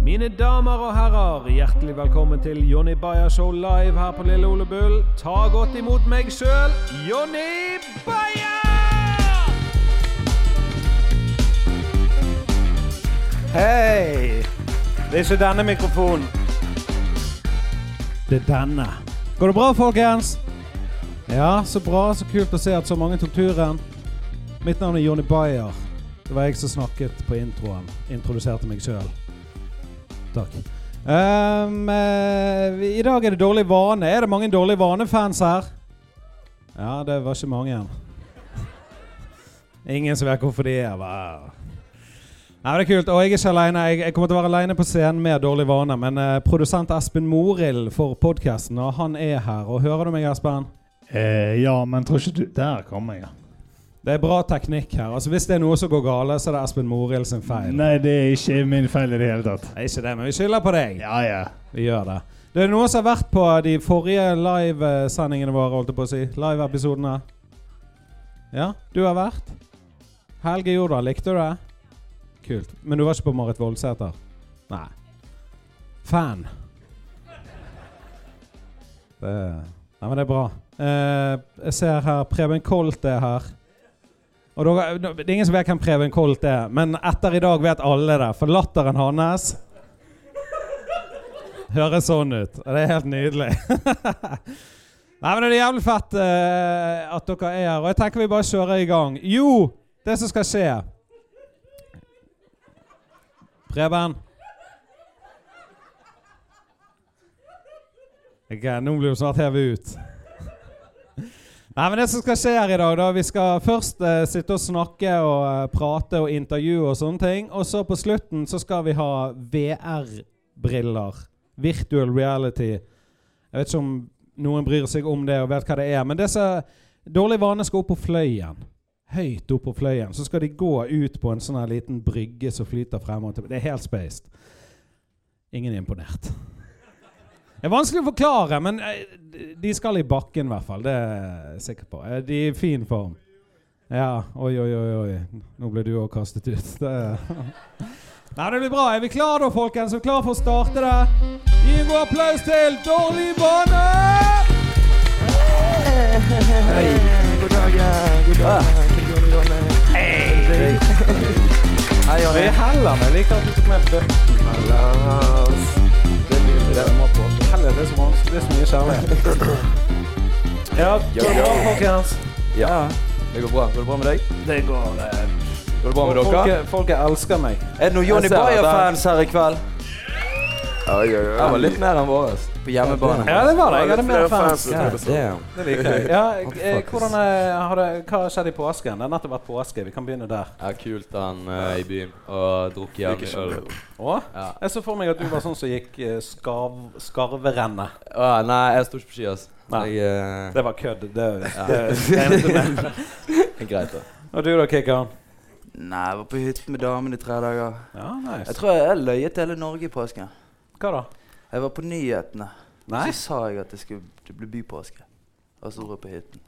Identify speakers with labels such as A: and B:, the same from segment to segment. A: Mine damer og herrer, hjertelig velkommen til Jonny Bayer Show live her på Lille Ole Bull. Ta godt imot meg sjøl, Jonny Bayer!
B: Hei! Det er ikke denne mikrofonen.
C: Det er denne. Går det bra, folkens? Ja, så bra. Så kult å se at så mange tok turen. Mitt navn er Jonny Bayer. Det var jeg som snakket på introen. Introduserte meg sjøl. Takk. Ehm, eh, vi- I dag er det dårlig vane. Er det mange dårlig vane-fans her? Ja, det var ikke mange. Ingen som vet hvorfor de er her. Nei, men det er kult, og Jeg er ikke alene. Jeg, jeg kommer til å være alene på scenen med dårlig vane. Men eh, produsent Espen Morild for podkasten, og han er her. Og Hører du meg, Espen?
D: Eh, ja, men tror ikke du Der kom jeg, ja.
C: Det er bra teknikk her. Altså Hvis det er noe som går gale, så er det Espen Morild sin feil.
D: Nei, det er ikke min feil i det hele tatt.
C: Det er ikke det, men vi skylder på deg.
D: Ja, ja.
C: Vi gjør det. Det er noen som har vært på de forrige livesendingene våre, holdt jeg på å si. Live-episodene. Ja, du har vært. Helge Jordal, likte du det? Kult. Men du var ikke på Marit Voldsæter? Nei. Fan. Det Nei, men det er bra. Eh, jeg ser her Preben Kolt er her. Og dere, det er ingen som vet hvem Preben Kolt er, men etter i dag vet alle det. For latteren hans høres sånn ut. Og det er helt nydelig. Nei, men Det er jævlig fett eh, at dere er her. Og jeg tenker vi bare kjører i gang. Jo, det som skal skje Preben? Ok, Nå blir du snart hevet ut. Nei, men Det som skal skje her i dag, da Vi skal først eh, sitte og snakke og eh, prate og intervjue og sånne ting. Og så på slutten så skal vi ha VR-briller. Virtual reality. Jeg vet ikke om noen bryr seg om det og vet hva det er. Men disse dårlige vanene skal opp på fløyen. Høyt opp på fløyen. Så skal de gå ut på en sånn her liten brygge som flyter frem og tilbake. Det er helt spaced. Ingen er imponert. Det er vanskelig å forklare, men eh, de skal i bakken i hvert fall. Det er jeg sikker på. Eh, De er i fin form. Ja. Oi, oi, oi. oi. Nå ble du òg kastet ut. Det er Nei, det blir bra. Er vi klare da, folkens? Er vi klare for å starte det? Gi en god applaus til Dårlig vane!
B: God dag, ja. god dag.
C: Ah.
B: Hei, Hei, Jonny.
C: Helland, jeg liker at du tok med bøtten.
B: Hallas. Det er mye det må på.
C: Helland, det er så vanskelig. Det er så mye kjærlighet.
B: Ja, går det bra, folkens?
E: Ja. Det går bra. Går det bra med deg?
B: Det går eh,
E: Går det bra med dere?
C: Folket, folket elsker meg.
E: Er det noen Johnny
B: Jeg ser det.
E: Bayer-fans her i kveld?
D: Oi, oi,
E: Det var litt mer enn vår. På hjemmebane.
C: Ja, det var det. Jeg hadde mer fans.
E: Ja, damn.
C: Det liker jeg. Ja, eh, hvordan eh, har det, hva har skjedd i påsken? Det har nettopp vært påske. Vi kan begynne der.
E: Ja, kult han eh, i byen og drukket jævlig øl.
C: Å?
E: Ja.
C: Jeg så for meg at du var sånn som gikk eh, skarv, skarverennet.
E: Å, nei, jeg sto ikke på ski, ass.
C: Nei.
E: Jeg, eh,
C: Det var kødd. Det,
E: Ja.
C: det, det endte med.
E: det er greit, da.
C: Og du da, Kikkan?
D: Nei, jeg var på hytten med damen i tre dager.
C: Ja, nice.
D: Jeg tror jeg løy til hele Norge i påsken.
C: Hva da?
D: Jeg var på nyhetene.
C: Nei?
D: Så sa jeg at det skulle det ble bypåske. Og så dro jeg på hytten.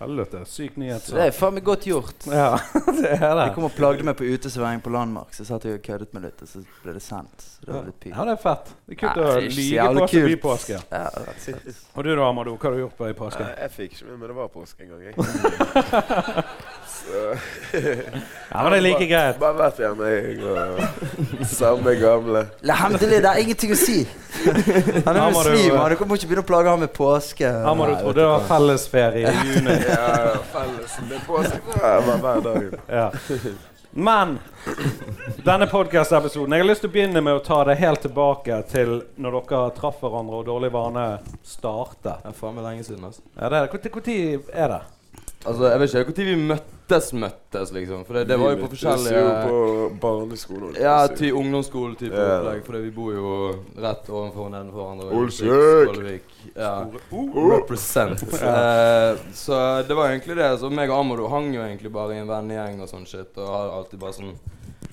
C: Helvete. Syk nyhet.
D: Så det er faen meg godt gjort.
C: Ja, det er det.
D: Jeg kom og plagde meg på uteservering på Landmark, så satt jeg og køddet meg litt, og så ble det sendt. Så det var litt
C: Ja,
D: pynt.
C: det er fett. Det er kult
D: Nei,
C: å
D: det er ikke så
C: lyge
D: jævlig
C: på seg
D: kult.
C: bypåske.
D: Ja, det var fett.
C: Og du da, Amado, hva har du gjort på i påsken?
F: Nei, jeg fikk ikke med meg det var påske en gang. Jeg.
C: Ja, men det er like greit.
F: Bare vært hjemme, jeg. Og samme gamle.
D: La ham til det, det er ingenting å si. Han er
C: Her må du-
D: muslim, han. Du må ikke begynne å plage ham med påske.
C: Amado trodde det var fellesferie i juni.
F: Ja, felles. Det er påske ja, det var hver dag.
C: Ja. Men denne podkast-episoden Jeg har lyst til å begynne med å ta det helt tilbake til når dere traff hverandre og Dårlig vane startet.
E: Det er faen meg lenge siden, ass.
C: Ja, det er det. Hvor tid er det?
E: Altså, jeg vet ikke når vi møttes, møttes, liksom. For det, det var jo på
F: Vi
E: forskjellige
F: møttes jo på barneskolen.
E: ja, til ungdomsskoletype
F: Ja.
E: opplegg, fordi vi bor jo rett ovenfor og nedenfor hverandre.
F: Olsøk!
E: Skålevik. Ja. Represent. Eh, så det var egentlig det. Så meg og Amado hang jo egentlig bare i en vennegjeng og sånn shit. Og har alltid bare sånn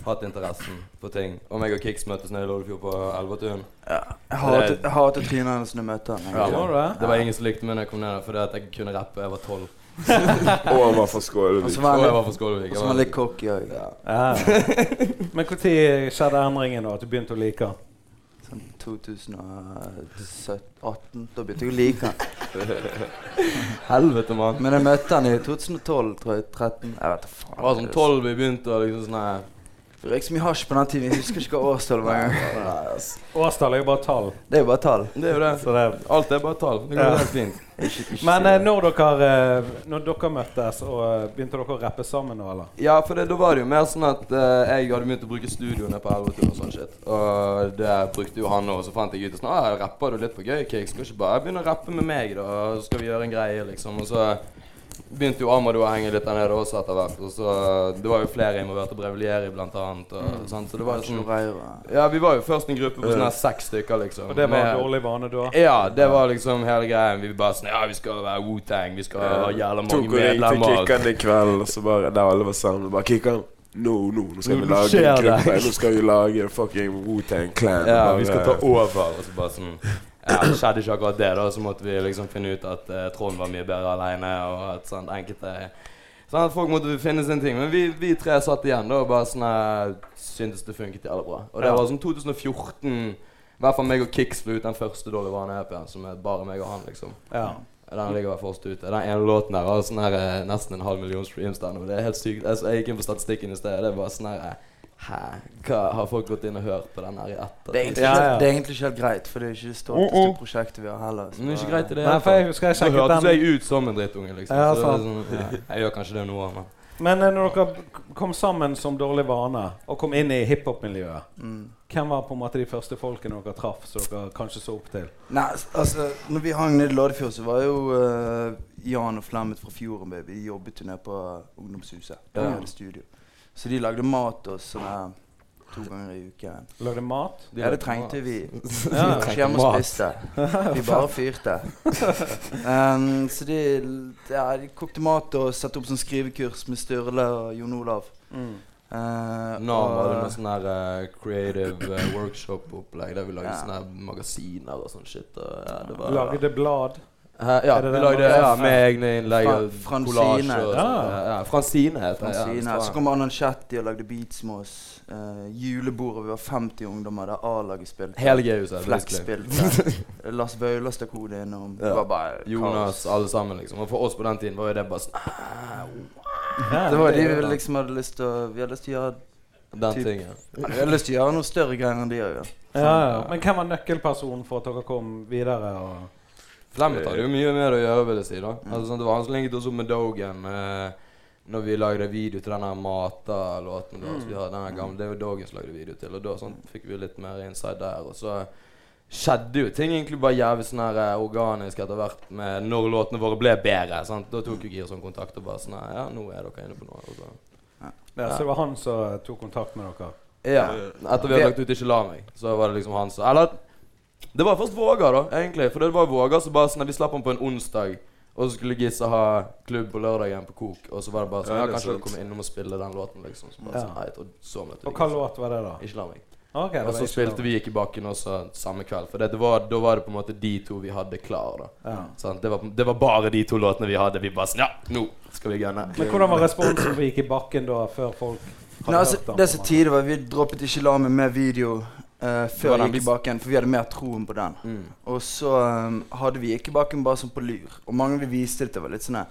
E: hatt interessen for ting. Og meg og Kix møttes nede i Loddefjord på Elvetun.
D: Ja. Jeg hater- jeg hater trynet hennes når jeg møter ham.
E: Ja,
C: var det?
E: Det var ingen som likte meg når jeg kom ned der, fordi at jeg kunne rappe. Jeg var tolv.
F: Og han var fra
D: Og
F: Skålevik.
D: så
E: Og
D: var
E: jeg
D: han
E: var fra Skålevik.
D: litt-
E: Jeg
D: så var han
E: var-
D: litt cocky òg.
C: Ja. Men når skjedde endringen, da? At du begynte å like han?
D: Sånn 2018. Da begynte jeg å like han.
E: Helvete, mann.
D: Men jeg møtte han i 2012, tror jeg. 13. Jeg vet da faen.
E: Det var sånn tolv vi begynte, og liksom sånn her
D: Det røyk så mye hasj på den tiden. Jeg husker ikke hva årstallet var engang.
A: Årstall er jo bare tall.
D: Det er jo bare tall.
E: Det er jo det.
A: Så det,
E: Alt er bare tall. Det går
A: Ja.
E: helt fint.
A: men eh, når dere, eh, når dere møttes, og eh, begynte dere å rappe sammen nå, eller?
E: Ja, for det, da var det jo mer sånn at eh, jeg hadde begynt å bruke studioene på Elvetun og sånn shit. Og det brukte jo han òg, så fant jeg ut sånn ah, Rapper du litt på gøy? Cake, skal ikke bare begynne å rappe med meg, da? og Så skal vi gjøre en greie, liksom. Og så begynte jo Amado å henge litt der nede også etter hvert. Og så Det var jo flere involverte, Brevelieri blant annet,
A: Mm.
E: og sånn. Så det var jo sånn Ja, vi var jo først en gruppe på sånn her seks stykker, liksom.
A: Og det var
E: med- Eh,
A: en dårlig vane da?
E: ja, det var liksom hele greien. Vi bare sånn Ja, vi skal være Wu-Tang. Vi skal ha jævla mange
F: Tok og ringte
E: medlemmer.
F: Kikkan i kveld, og så bare Der alle var sammen. Bare Kikkan. Nå, nå, nå skal
E: Nå
F: vi lage
E: skjer
F: en
E: det.
F: gruppe. Nå skal vi lage en fucking Wu-Tang
E: Ja,
F: Clan. Bare-
E: Eh, vi skal ta over. Og så bare sånn ja, Det skjedde ikke akkurat det, da. Så måtte vi liksom finne ut at eh, Trond var mye bedre aleine, og at sånn enkelte Sånn at Folk måtte finne sin ting. Men vi, vi tre satt igjen da og bare sånn eh, syntes det funket jævla bra. Og det var sånn 2014 I hvert fall meg og Kix ble ut den første Dolly Vane-EP-en, som er bare meg og han, liksom.
A: Ja.
E: Den ligger vel forst ute. Den ene låten der har sånn her eh, nesten en halv million streams der nå. Det er helt sykt. Altså, jeg gikk inn på statistikken i sted, og det var sånn her eh, Hæ? Hva har folk gått inn og hørt på den her i
D: Det er egentlig
E: etter?
D: ikke,
A: Ja, ja.
D: Det er egentlig ikke helt greit, for det er ikke det stolteste prosjektet vi har heller. så
E: Oh, Men det er ikke greit i det
A: Nei,
E: hele
A: for
E: tatt.
A: jeg husker jeg
E: Så
A: sjekket
E: hørtes
A: den.
E: jeg ut som en drittunge, liksom.
A: Ja,
E: så det er sånn, ja, jeg gjør kanskje det nå, men
A: Men eh, når dere k- kom sammen som dårlig vane, og kom inn i hiphop-miljøet,
D: Mm.
A: hvem var på en måte de første folkene dere traff, som dere kanskje så opp til?
D: Nei, s- altså, når vi hang nede i Loddefjord, så var jo eh, Jan og Flemmet fra Fjorden Baby. De jobbet jo nede på ungdomshuset. De
E: Ja.
D: hadde studio. Så de lagde mat til oss sånn her to ganger i uken.
A: Lagde mat?
D: Ja, det trengte vi. Vi
A: Ja.
D: var ikke hjemme og spiste. Vi bare fyrte. Um, så de, ja, de kokte mat og satte opp sånn skrivekurs med Sturle og Jon Olav.
A: Mm.
D: Eh,
E: Nå var det
D: og-
E: noe sånn her eh, creative eh, workshop-opplegg der vi lagde
D: Ja.
E: sånne her magasiner og sånn shit. Og, ja, det var,
A: Lagde blad?
E: Hæ? ja,
A: Er det
E: vi
A: den
E: lagde
A: magasinen?
E: ja, med egne innlegg og
D: Fra- Fransine.
E: kollasjer. og
A: Ja.
E: sånt. Ja, ja, Fransine heter det, ja,
D: Fransine.
E: det.
D: så
E: står-
D: kom Annan Chetty og lagde beats med oss. Uh, julebord, og vi var 50 ungdommer der A-laget spilte.
E: Hele G-huset.
D: Flex
E: basically.
D: spilte. Lars Vaular stakk hodet innom.
E: Ja.
D: Det var bare kaos.
E: Jonas, alle sammen, liksom. Og for oss på den tiden var jo det bare sånn ah,
A: Ja,
D: Det var jo
A: det-
D: de vi liksom hadde lyst til å Vi hadde lyst til å gjøre
E: Den
D: Typ.
E: tingen.
D: Vi hadde lyst til å gjøre noe større greier enn de gjør. jo.
A: Ja, ja. Men hvem var nøkkelpersonen for at dere kom videre? Og
E: Flemmet hadde jo mye med det å gjøre, vil jeg si. da altså, sånn, Det var han som ligget oss opp med Dogen eh, når vi lagde video til denne Mata-låten. da, så vi hadde denne gamle, Det var Dogen som lagde video til, og da sånn, fikk vi litt mer inside der. og så... Skjedde jo ting egentlig bare jævlig sånn her eh, organisk etter hvert med når låtene våre ble bedre. sant? Da tok jo Girson kontakt og bare sånn her, Ja, nå er dere inne på noe. Og så.
A: ja, så det var han som tok kontakt med dere?
E: Ja. Eh, Etter vi hadde lagt ut 'Ikke la meg', så var det liksom han som Eller det var først Vågar, da, egentlig. For det var Vågar som bare sånn at Vi slapp han på en onsdag, og så skulle Gizza ha klubb på lørdagen på Kok. Og så var det bare sånn
F: Ja,
E: Ja,
F: det er
E: kanskje dere
F: sant.
E: kommer innom og spiller den låten, liksom. Så bare
A: Ja.
E: sånn, heit, og så møtte vi
A: Og hva
E: Gizza.
A: låt var det, da?
E: Ikke la meg.
A: Ok, det
E: Og
A: var
E: så
A: ikke
E: spilte
A: lov.
E: vi Gikk i bakken også samme kveld. For det, det var, da var det på en måte de to vi hadde klar, da.
A: Ja.
E: Sant? det, var, det var bare de to låtene vi hadde. Vi bare sånn Ja, nå skal vi gunne.
A: Men hvordan var responsen på Gikk i bakken da, før folk hadde
D: Nei, altså,
A: hørt den?
D: det som tidlig var Vi droppet ikke la meg med video eh,
E: var
D: før
E: den
D: Gikk i
E: vi-
D: baken, for vi hadde mer troen på den.
E: Mm.
D: Og så um, hadde vi ikke baken bare sånn på lur. Og mange vi viste det til, var litt sånn her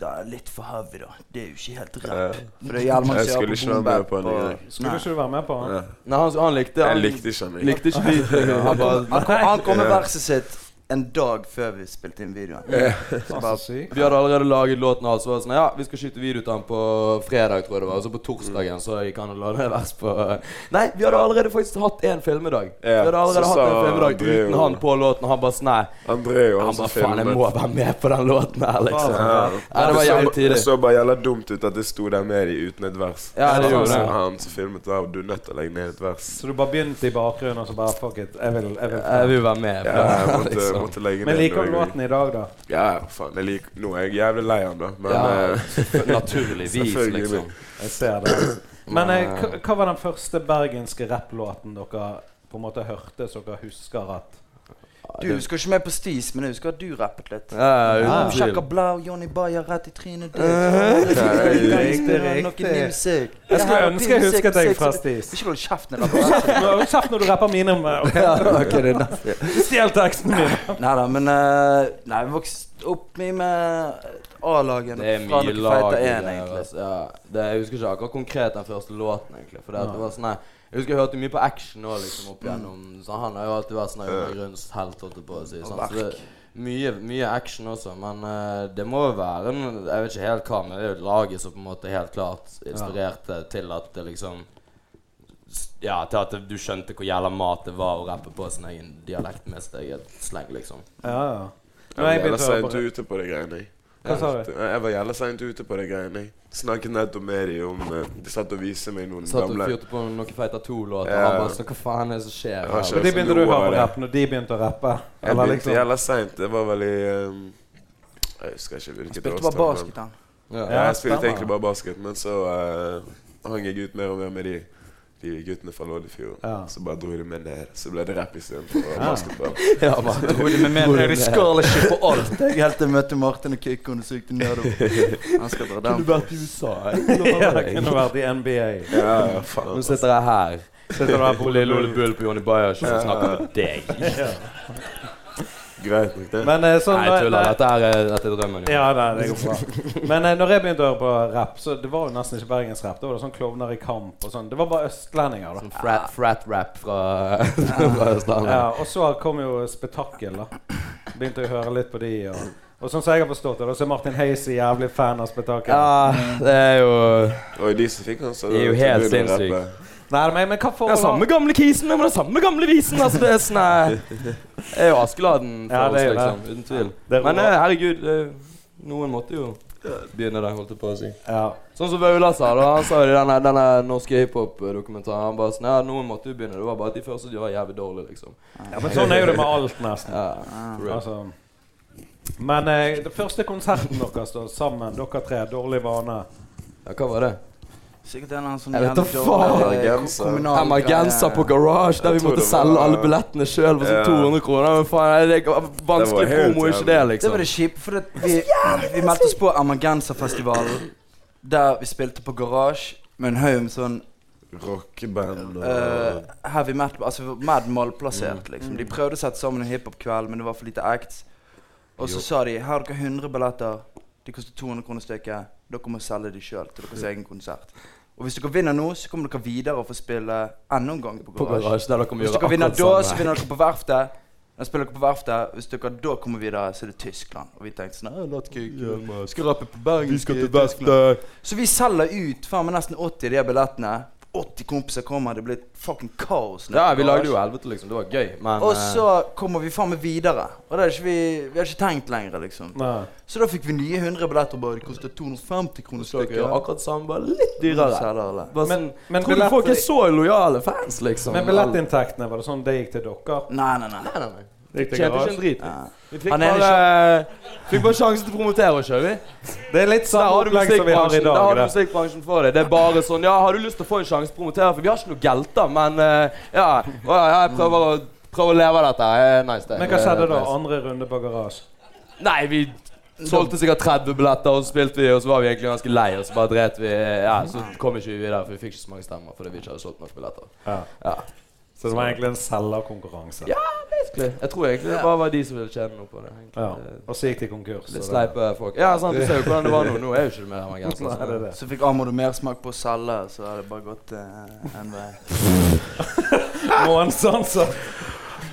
D: Det er litt for heavy, da. Det er jo ikke helt
F: Ja.
D: rett. For det er jævlig mange
F: Jeg
D: som
F: skulle ikke være
D: gjør
F: med
D: på
F: på en
D: bombat.
F: gang.
A: Skulle ikke du være med på den?
F: Ja.
E: Nei, han, han likte
F: Jeg
E: han,
F: likte ikke han. jeg.
E: likte ikke beat. liksom. Han bare
D: Han kom, han kom med
F: Ja.
D: verset sitt en dag før vi spilte inn videoen. Så
A: Altså,
D: bare,
A: sykt.
E: Vi hadde allerede laget låten og alt, så var det sånn Ja, vi skal skyte video til han på fredag, tror jeg det var. Og så på torsdagen så gikk han og la ned vers på eh, Nei, vi hadde allerede faktisk hatt én filmedag.
F: Ja,
E: vi hadde allerede
F: så
E: hatt en
F: sa
E: filmedag
F: André
E: uten
F: jo-
E: han på låten, og han bare sånn Nei.
F: André og
E: Han
F: som
E: bare faen, jeg må
F: filmet.
E: være med på den låten her, liksom.
F: Ja.
E: Ja, det var jævlig
F: Det
E: tidlig.
F: så bare jævla dumt ut at det sto der med de uten et vers.
E: Ja, det gjorde det.
F: Så Han som filmet der, du er nødt til å legge ned et vers.
A: Så du bare begynte i bakgrunnen og så bare fuck it, jeg vil, jeg vil.
E: Jeg vil jo være Eh, med. på den her, liksom.
F: Ja, jeg måtte, måtte legge ned
A: Men liker
F: noe
A: du
F: jeg-
A: låten i dag, da?
F: Ja, faen. Jeg liker, nå er jeg jævlig lei han, da. Men
E: Ja,
F: eh,
E: naturligvis,
F: Selvfølgelig.
E: liksom.
A: Jeg ser det. Men eh,
E: Men,
A: hva- hva var den første bergenske rapplåten dere på en måte hørte, så dere husker at
D: Du husker ikke meg på Stis, men jeg husker at du rappet litt.
E: Ja, ja, uten tvil.
D: Shaka Blau, Johnny Bayer rett i trynet ditt.
F: riktig,
D: Noe ny musikk.
B: Jeg skulle ønske jeg husket deg fra Stis.
D: Ikke hold kjeft når jeg rapper.
C: Kjapt når du rapper mine om eh,
D: Ja, ok, det er neste.
C: Stjel teksten min.
D: Nei da, men eh, Nei, vi vokste opp mye med A-lagen.
E: Det er
D: fra
E: mye
D: dere
E: lag
D: fighter en,
E: i det her,
D: egentlig.
E: altså. Ja, det, jeg husker ikke akkurat konkret den første låten, egentlig. For det, at det var sånn her Jeg husker jeg hørte mye på Action òg, liksom, opp igjennom. Så han har jo alltid vært sånn her Jørgens helt, holdt jeg på å si. sant? Så det, mye, mye action også, men eh, det må jo være en, Jeg vet ikke helt hva, men det er jo laget som på en måte helt klart inspirerte til at det liksom s- Ja, til at du skjønte hvor jævla mat det var å rappe på sin egen dialekt med sitt eget slang, liksom.
C: Ja, ja.
F: Jeg
C: Nei,
F: var
C: jeg
F: jævla
C: begynte å
F: seint
C: høre
F: ute på de greiene. jeg.
C: Hva sa du?
F: Nei, Jeg var jævla seint ute på de greiene. jeg. Snakket nettopp med de om eh, De satt og viste meg noen
E: Satt og
F: gamle
E: fyrte på noen Fighter 2-låter.
F: Ja.
E: Han bare sånn Hva faen er det som skjer?
F: Jeg har
E: her?"
C: Men de begynte du å
F: Noe
C: høre
F: av
C: på
F: det.
C: rapp når de begynte å rappe?
F: Jeg
C: Eller
F: begynte
C: liksom
F: jævla seint. Det var vel i ehm, Jeg husker ikke hvilket
D: Spilte bare
F: men-
D: basket, han.
E: Ja.
F: Ja,
C: Ja,
F: jeg spilte
C: stemmer.
F: egentlig bare basket, men så eh, hang jeg ut mer og mer med de, de guttene fra Loddefjord.
C: Ja.
F: Så bare dro de med ned. Så ble det rapp istedenfor ja. basketball.
E: Ja, man.
D: Jeg skala ikke på
E: altså.
D: alt. Jeg helt til jeg møtte Martin og Kikkoen og søkte nedover. Han skal dra den.
E: vært i USA.
C: Ja, det kunne vært i NBA.
F: Ja, ja, faen.
E: Nå sitter jeg her.
C: Sitter du her
E: På Lille Ole Bull på Johnny Byers og snakker med deg.
F: Greit nok, det.
C: Men eh, sånn
E: Nei, jeg tuller.
C: nei-
E: Dette er, dette er drømmen. jo.
C: Ja, nei, det går bra. Men eh, når jeg begynte å høre på rapp, så det var jo nesten ikke bergensrapp. Det var det sånn klovner i kamp og sånn. Det var bare østlendinger,
E: Sånn
C: da.
E: Frat, frat rap fra, fra
C: Ja,
E: Østlandet.
C: og så kom jo Spetakkel, da. Begynte jeg å høre litt på de. Og, og sånn som jeg har forstått det, da, så er Martin Heise jævlig fan av Spetakkel.
E: Ja, det er jo
F: Og de som fikk han, så
E: Det er jo helt
F: så begynte de å
E: sinnssykt.
F: rappe.
C: Nei, men, men hva
E: Det er
C: forhold
E: samme gamle kisen, men det er samme gamle visen. Altså, det er sånn eh, Det er jo Askeladden for
C: Ja, det er
E: oss,
C: jo det.
E: liksom. Uten tvil.
C: Det er
E: Men
C: rå.
E: eh, herregud, eh, noen måtte jo begynne der, holdt jeg på å si.
C: Ja.
E: Sånn som Vaula sa, da. Han sa jo i denne, denne norske hiphop-dokumentaren Han bare sånn Ja, noen måtte jo begynne. Det var bare at de første de var jævlig dårlige, liksom.
C: ja, men sånn er jo det med alt, nesten.
E: Ja, for real.
C: Altså. Men eh, det første konserten deres da, sammen, dere tre, Dårlig vane.
E: ja, hva var det?
D: Sikkert en eller annen sånn
E: Jeg vet da
D: jævlig
E: faen.
D: dårlig, eh,
F: Emergenser.
D: kommunal greie.
E: Emergenser på Garage, der
F: Jeg
E: vi
F: tror
E: måtte
F: det var-
E: selge alle billettene sjøl for sånn
F: Ja.
E: 200 kroner. Men faen, det er vanskelig
F: Det var helt
E: promo, er ikke det,
F: jævlig.
D: Det var
E: liksom?
D: det kjipe, for det, vi, vi meldte oss på Emergenserfestivalen. Der vi spilte på garasje med en haug med sånn
F: Rockeband og
D: eh, heavy metal Altså vi var mad malplassert,
E: Mm.
D: liksom. De prøvde å sette sammen en hiphop-kveld, men det var for lite acts. Og så sa de her har dere 100 billetter. De koster 200 kroner stykket. Dere må selge de sjøl til deres egen konsert. Og hvis dere vinner nå, så kommer dere videre og får spille enda en gang på
E: På
D: garasje.
E: Garage, der dere må
D: Hvis
E: gjøre
D: dere vinner da,
E: akkurat
D: så
E: samme.
D: vinner dere på verftet. Da spiller dere på verftet. Hvis dere da kommer videre, så er det Tyskland. Og vi tenkte sånn «Ah, not good. Skal rappe på Bergen. til Tyskland». Så vi selger ut faen meg nesten 80 av de her billettene. 80 kompiser kommer, det blir fucking kaos. nede
E: Ja,
D: på
E: vi lagde jo
D: garasjen.
E: helvete, liksom. Det var gøy, men
D: Og
E: eh,
D: så kommer vi faen meg videre. Og det er ikke vi, vi har ikke tenkt lenger, liksom.
C: Nei.
D: Så da fikk vi nye 100 billetter, og bare det koster 250 kroner
E: så dere
D: stykket.
E: gjør akkurat samme, bare litt
D: Dyrere.
E: dyrere.
D: Selger alle.
E: Bare
C: Men-
E: sånn,
C: men
E: tror du folk
C: billetter-
E: er så lojale fans, liksom?
C: Men billettinntektene, var det sånn det gikk til dere?
D: Nei, nei, nei. Eh,
E: Nei, nei, nei.
C: Det gikk til
E: Tjente ikke
C: garasje?
E: en drit. vi. Vi fikk
D: Han er
E: bare, fikk bare sjansen til å promotere oss, sjøl, vi.
C: Det er litt
E: Der
C: samme
E: har du
C: opplegg som vi har i
E: musikkbransjen, der
C: dag.
E: har du
C: det.
E: musikkbransjen for deg. Det er bare sånn Ja, har du lyst til å få en sjanse, promotere, for vi har ikke noe gelter, men eh, ja, å, ja, jeg prøver å Prøver å leve av dette. Eh, nice, det.
C: Men hva skjedde da?
E: Eh, nice.
C: Andre runde på garasje?
E: Nei, vi solgte sikkert 30 billetter, og så spilte vi, og så var vi egentlig ganske lei, og så bare dret vi eh, Ja, så kom ikke vi videre, for vi fikk ikke så mange stemmer fordi vi ikke hadde solgt nok billetter.
C: Ja.
E: Ja,
C: Så det var egentlig en selgerkonkurranse.
E: Ja. basically. Jeg tror egentlig det bare var de som ville tjene noe på det. egentlig.
C: Ja.
E: Eh,
C: Og så gikk de konkurs.
E: Litt
C: så det-
E: sleipe folk. Ja, sant, du ser jo hvordan det var nå. Nå er jo ikke det mer emergenser.
C: Nei, det er det.
D: Så fikk Amod mersmak på å selge, så har det bare gått eh, en vei.
C: Noen sånn så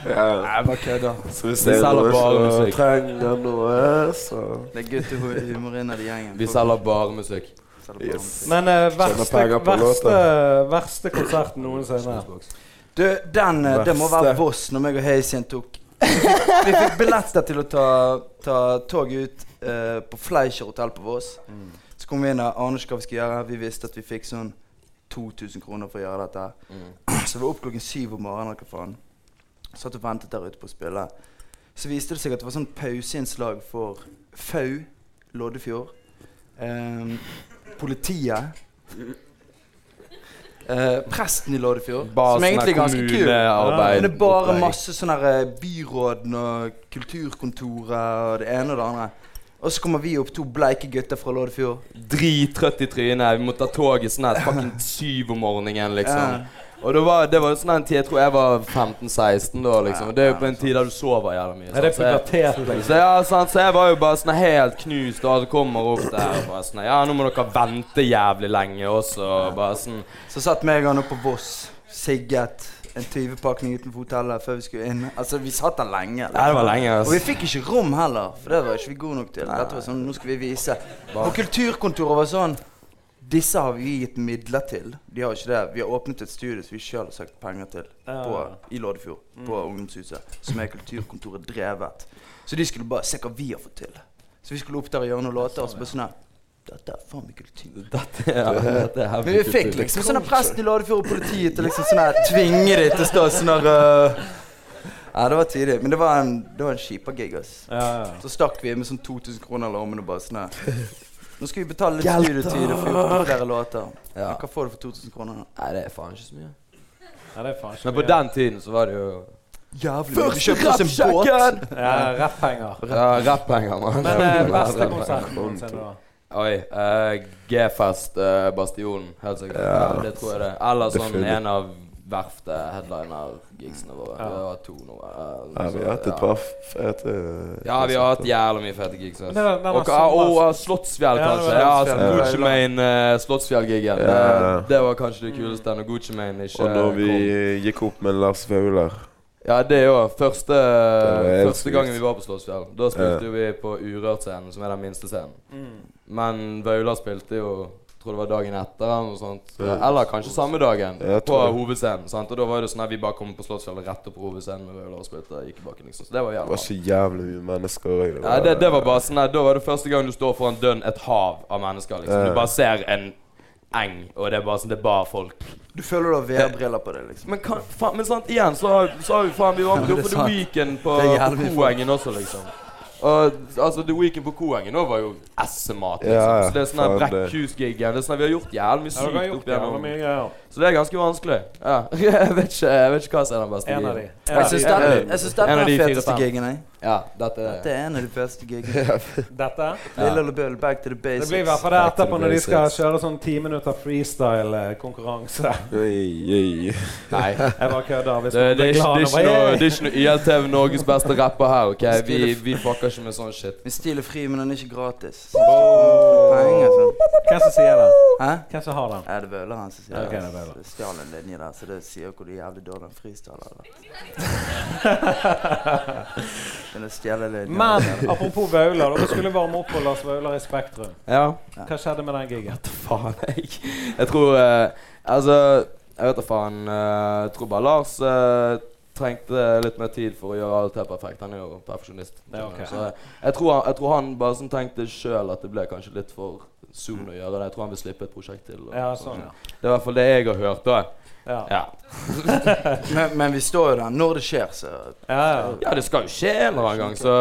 F: ja.
E: Jeg bare kødder.
F: Så hvis
E: Vi
F: det er
E: selger
F: noen
E: bare
F: som
E: musikk.
F: trenger noe, så
D: Det er guttehumor innad i gjengen.
E: Vi selger bare musikk.
D: Selger bare
F: Yes.
D: musikk.
C: Men eh, verste,
F: penger på
C: verste, verste konserten noensinne.
D: Du, den, eh, det må være
F: Verste.
D: Voss når meg og Hazien tok Vi fikk billetter til å ta, ta tog ut eh, på Fleischer hotell på Voss. Så kom vi inn der, aner ikke hva vi skal gjøre. Vi visste at vi fikk sånn 2000 kroner for å gjøre dette. Så vi var opp klokken syv om morgenen. eller Hva faen. Satt og ventet der ute på å spille. Så viste det seg at det var sånn pauseinnslag for FAU, Loddefjord, ehm, politiet eh, presten i Loddefjord.
E: Bare
D: som egentlig er ganske kul.
E: kommunearbeid.
D: Men det er bare
E: opplegg.
D: masse sånne her, eh, byråden og kulturkontoret og det ene og det andre. Og så kommer vi opp, to bleike gutter fra Loddefjord.
E: Drittrøtt i trynet. Vi måtte ta toget sånn her fucking syv om morgenen, liksom. Og det var, det var sånn en tid Jeg tror jeg var 15-16 da, liksom. Og det er jo på en tid der du sover jævla mye.
B: Er det
E: sant? Så jeg-
B: pubertet, liksom?
E: Så, ja, sant, så jeg var jo bare sånn helt knust, og så kommer opp der og bare sånn Ja, nå må dere vente jævlig lenge også. og Bare sånn
D: Så satt meg og han oppe på Voss, sigget en 20-pakning utenfor hotellet før vi skulle inn. Altså, vi satt der lenge. liksom.
E: Ja, det var lenge, ass.
D: Og vi fikk ikke rom heller, for det var ikke vi gode nok til. Dette var sånn, nå skal vi vise. Og kulturkontoret var sånn Disse har vi gitt midler til. De har ikke det. Vi har åpnet et studio som vi sjøl har søkt penger til på, i Loddefjord. På ungdomshuset. Som er kulturkontoret drevet. Så de skulle bare se hva vi har fått til. Så vi skulle opp der og gjøre noen låter, og så bare sånn her Dette er faen meg kultur.
E: Dette, ja, dette er
D: Men vi fikk liksom sånn at presten i Loddefjord og politiet til liksom sånn her tvinge dem til å stå sånn her øh. Ja, det var tidlig. Men det var en, det var en kjipa gig, ass. Så stakk vi med sånn 2000 kroner i lommen og bare sånn her Nå skal vi betale litt studietid og få gjort flere låter.
E: Ja.
D: Men Hva får du for 2000 kroner? da?
E: Nei, det er faen ikke så mye.
C: Ja, det er faen ikke
E: Men på
C: mye.
E: den tiden så var det jo
D: Jævlig mye. Vi kjøpte oss en båt.
C: Ja, Rappenger.
E: Ja, rappenger, mann.
C: Men eh, beste
E: Rappenger.
C: konserten noensinne, da?
E: Oi. eh, G-fest, eh, Bastionen. Helt sikkert. Ja, det tror jeg det. Eller sånn
F: Definitivt.
E: en av verftet-headliner-gigsene våre. Det var to nå. eh,
F: Ja, vi har hatt
E: ja.
F: et par fete
E: Ja, vi har hatt jævlig mye fete gigs. ass.
C: Men det var- den var
E: Og ah,
C: sommer-
E: og, ah, Slottsfjell,
C: Ja, det
E: kanskje.
C: var
E: Ja,
C: Slottsfjell.
E: altså, Gucci
F: Ja.
E: Mane, eh, Slottsfjell-gigen. Det,
F: Ja.
E: det var kanskje det kuleste når Gucci Mane ikke
F: Og når vi
E: kom.
F: gikk opp med Lars Vaular
E: Ja, det òg. Første,
F: var helt
E: første
F: sykt.
E: gangen vi var på Slottsfjell. Da
F: Ja.
E: spilte jo vi på Urørt-scenen, som er den minste scenen.
C: Mm.
E: Men Vaular spilte jo Tror det var dagen etter eller noe sånt.
F: Ja.
E: Eller kanskje samme dagen,
F: Ja,
E: på
F: jeg tror det.
E: hovedscenen. sant? Og da var det sånn at vi bare kom på Slottsfjell og rett opp på hovedscenen med Vaular og spilte. Gikk tilbake, liksom. Så det var
F: Det
E: jævlig
F: var så jævlig mye mennesker. og
E: Nei, det, det var bare sånn nei, Da var det første gang du står foran dønn et hav av mennesker. liksom Du
F: Ja.
E: bare ser en eng, og det er bare sånn, det er bare folk.
D: Du føler du har VR-briller på deg, liksom.
E: Men, kan, faen, men sant, igjen så har, så har vi faen Vi var
D: Ja, det er
E: på The
D: sant.
E: Weekend på,
D: Det er
E: på
D: jævlig mye
E: Koengen også, liksom. Og altså, The Weekend på Koengen nå var jo essemat, liksom.
F: Ja, ja,
E: Så det er sånn her
F: faen, det-
E: Brekkhus-giggen. Det er sånn her, Vi har gjort jævlig mye
C: Ja, dere har
E: sykt
C: gjort
E: opp
C: jævla mye
E: igjennom.
C: greier.
E: Så det er ganske vanskelig. Ja. Jeg vet ikke, jeg vet ikke hva som er den beste
C: En av de.
E: giggen.
C: En
D: Jeg
C: av
D: syns
C: de.
E: det-
D: dette jeg syns dette
E: En av
D: er den
E: de fire
D: feteste
E: fem.
D: gigen, jeg.
E: Ja, dette
D: Dette er en av de feteste gigene.
C: Dette?
D: Lille Løbøl, back to the
C: Det
D: basics.
C: blir i hvert fall det etterpå når de skal kjøre sånn ti minutter freestyle-konkurranse.
F: Oi, oi.
E: Nei.
C: Jeg bare kødder. Hvis
E: Det, det, er
C: blir glad
E: ikke, det,
C: når
E: er ikke
C: jeg-
E: noe, det er ikke noe YLTV Norges beste rapper her, OK? Vi, vi fucker ikke med sånn shit.
D: Min stil er fri, men den er ikke gratis. Så det kommer Penger, sånn.
C: Hvem som sier det?
D: Hæ?
C: Hvem som har den?
D: Ja, det bøler han som sier
C: Ok, det
D: det.
C: bøler.
D: Det stjal en linje der, så det sier hvor jævlig dårlig han freestyler. da. Men det stjeler linjen.
C: Men apropos Vaular. Dere skulle varme opp for Lars Vaular i Spektrum.
E: Ja.
C: Hva skjedde med den gigen?
E: Faen, jeg Jeg tror eh, Altså, jeg vet da faen. eh, jeg tror bare Lars eh, trengte litt mer tid for å gjøre alt her perfekt. Han er jo perfeksjonist.
C: Ja, ok.
E: Så jeg, jeg, tror han, jeg tror han bare sånn tenkte sjøl at det ble kanskje litt for soon å gjøre det. Jeg tror han vil slippe et prosjekt til. og-
C: Ja, sånn, ja.
E: Det er i hvert fall det jeg har hørt, da.
C: Ja,
E: Ja.
D: Men, men vi står jo der når det skjer, så
C: ja. ja.
E: Ja, det skal jo skje en eller annen gang, så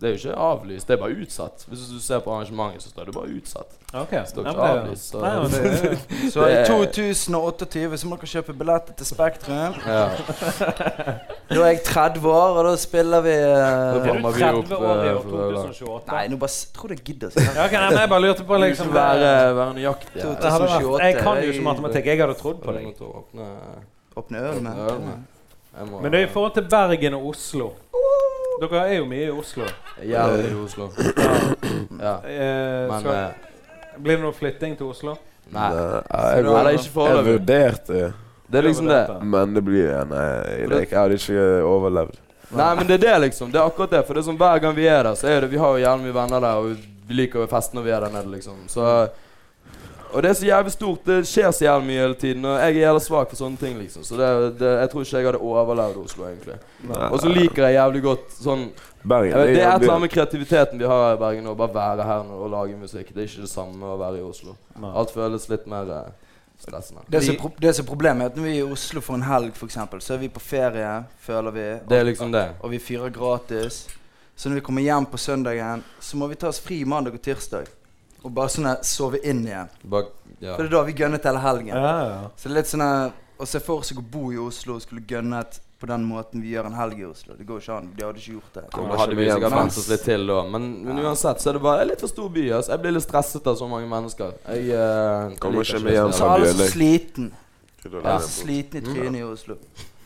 E: det er jo ikke avlyst. Det er bare utsatt. Hvis du ser på arrangementet, så står det bare utsatt.
C: Ok. Ja,
E: står
C: men
E: ikke
C: det er jo-
E: avlyst, så-
C: Nei, men det er jo-
D: Så i
E: Det-
D: 2028 så må dere kjøpe billetter til Spektrum.
E: Ja.
D: Da er jeg 30 år, og da spiller vi eh,
C: Er du
E: varmer vi opp,
C: 30 år i år
E: eh, for Vaular.
C: 2028?
D: Nei, nå bare s- tror jeg gidder sånn.
C: Ja, ok, nei, men jeg bare lurte på liksom
E: Liksom være, være nøyaktig.
D: To-
E: her.
C: Det hadde vært, jeg kan jo
D: 2028
C: ikke matematikk. Jeg hadde trodd på
E: Jeg
C: deg.
E: måtte åpne
D: Åpne øl med.
E: Åpne øl med. Jeg må
C: Men det er i forhold til Bergen og Oslo. Dere er jo mye i Oslo.
E: Jævlig i Oslo. Ja.
C: Eh,
E: Men
C: så,
E: eh,
C: blir det noe flytting til Oslo?
E: Nei.
F: Jeg,
E: Nei, det er ikke
F: jeg
E: foreløpig.
F: vurderte,
E: Det er liksom det.
F: men det blir Nei, jeg, jeg hadde ikke overlevd.
E: Nei, men det er det, liksom. Det er akkurat det. For det er sånn hver gang vi er der, så er det Vi har jo gjerne mye venner der, og vi liker jo fest når vi er der nede, liksom. Så Og det er så jævlig stort. Det skjer så jævlig mye hele tiden. Og jeg er jævlig svak for sånne ting, liksom. Så det, det, jeg tror ikke jeg hadde overlevd Oslo, egentlig. Og så liker jeg jævlig godt sånn
F: Bergen
E: Jeg vet, Det er et eller annet
F: by.
E: med kreativiteten vi har her i Bergen. Å bare være her nå og lage musikk. Det er ikke det samme å være i Oslo.
C: Nei.
E: Alt føles litt mer eh, stressende.
D: Det som, er pro det som er problemet, er at når vi er i Oslo for en helg, for eksempel, så er vi på ferie, føler vi, og,
E: Det er liksom det.
D: og vi fyrer gratis. Så når vi kommer hjem på søndagen, så må vi ta oss fri mandag og tirsdag. Og bare sånn her sove inn igjen.
E: Bak, ja.
D: For det er da vi gønnet hele helgen.
C: Ja, ja.
D: Så det er litt sånn her, Å se for seg å bo i Oslo og skulle gønnet på den måten vi gjør en helg i Oslo. Det går jo ikke an. De hadde ikke gjort det.
E: Ja,
F: Kommer
E: Da
F: ikke
E: hadde vi
F: med
E: sikkert
F: hjem.
E: vent oss litt til da. Men, men uansett så er det bare det er litt for stor by. ass. Jeg blir litt stresset av så mange mennesker. Jeg eh,
F: Kommer
E: liker
F: ikke med hjem.
E: det.
D: Så alle er så sliten.
F: Skulle du
D: Alle
F: ha
D: er så
F: lært
D: slitne i trynet i Oslo.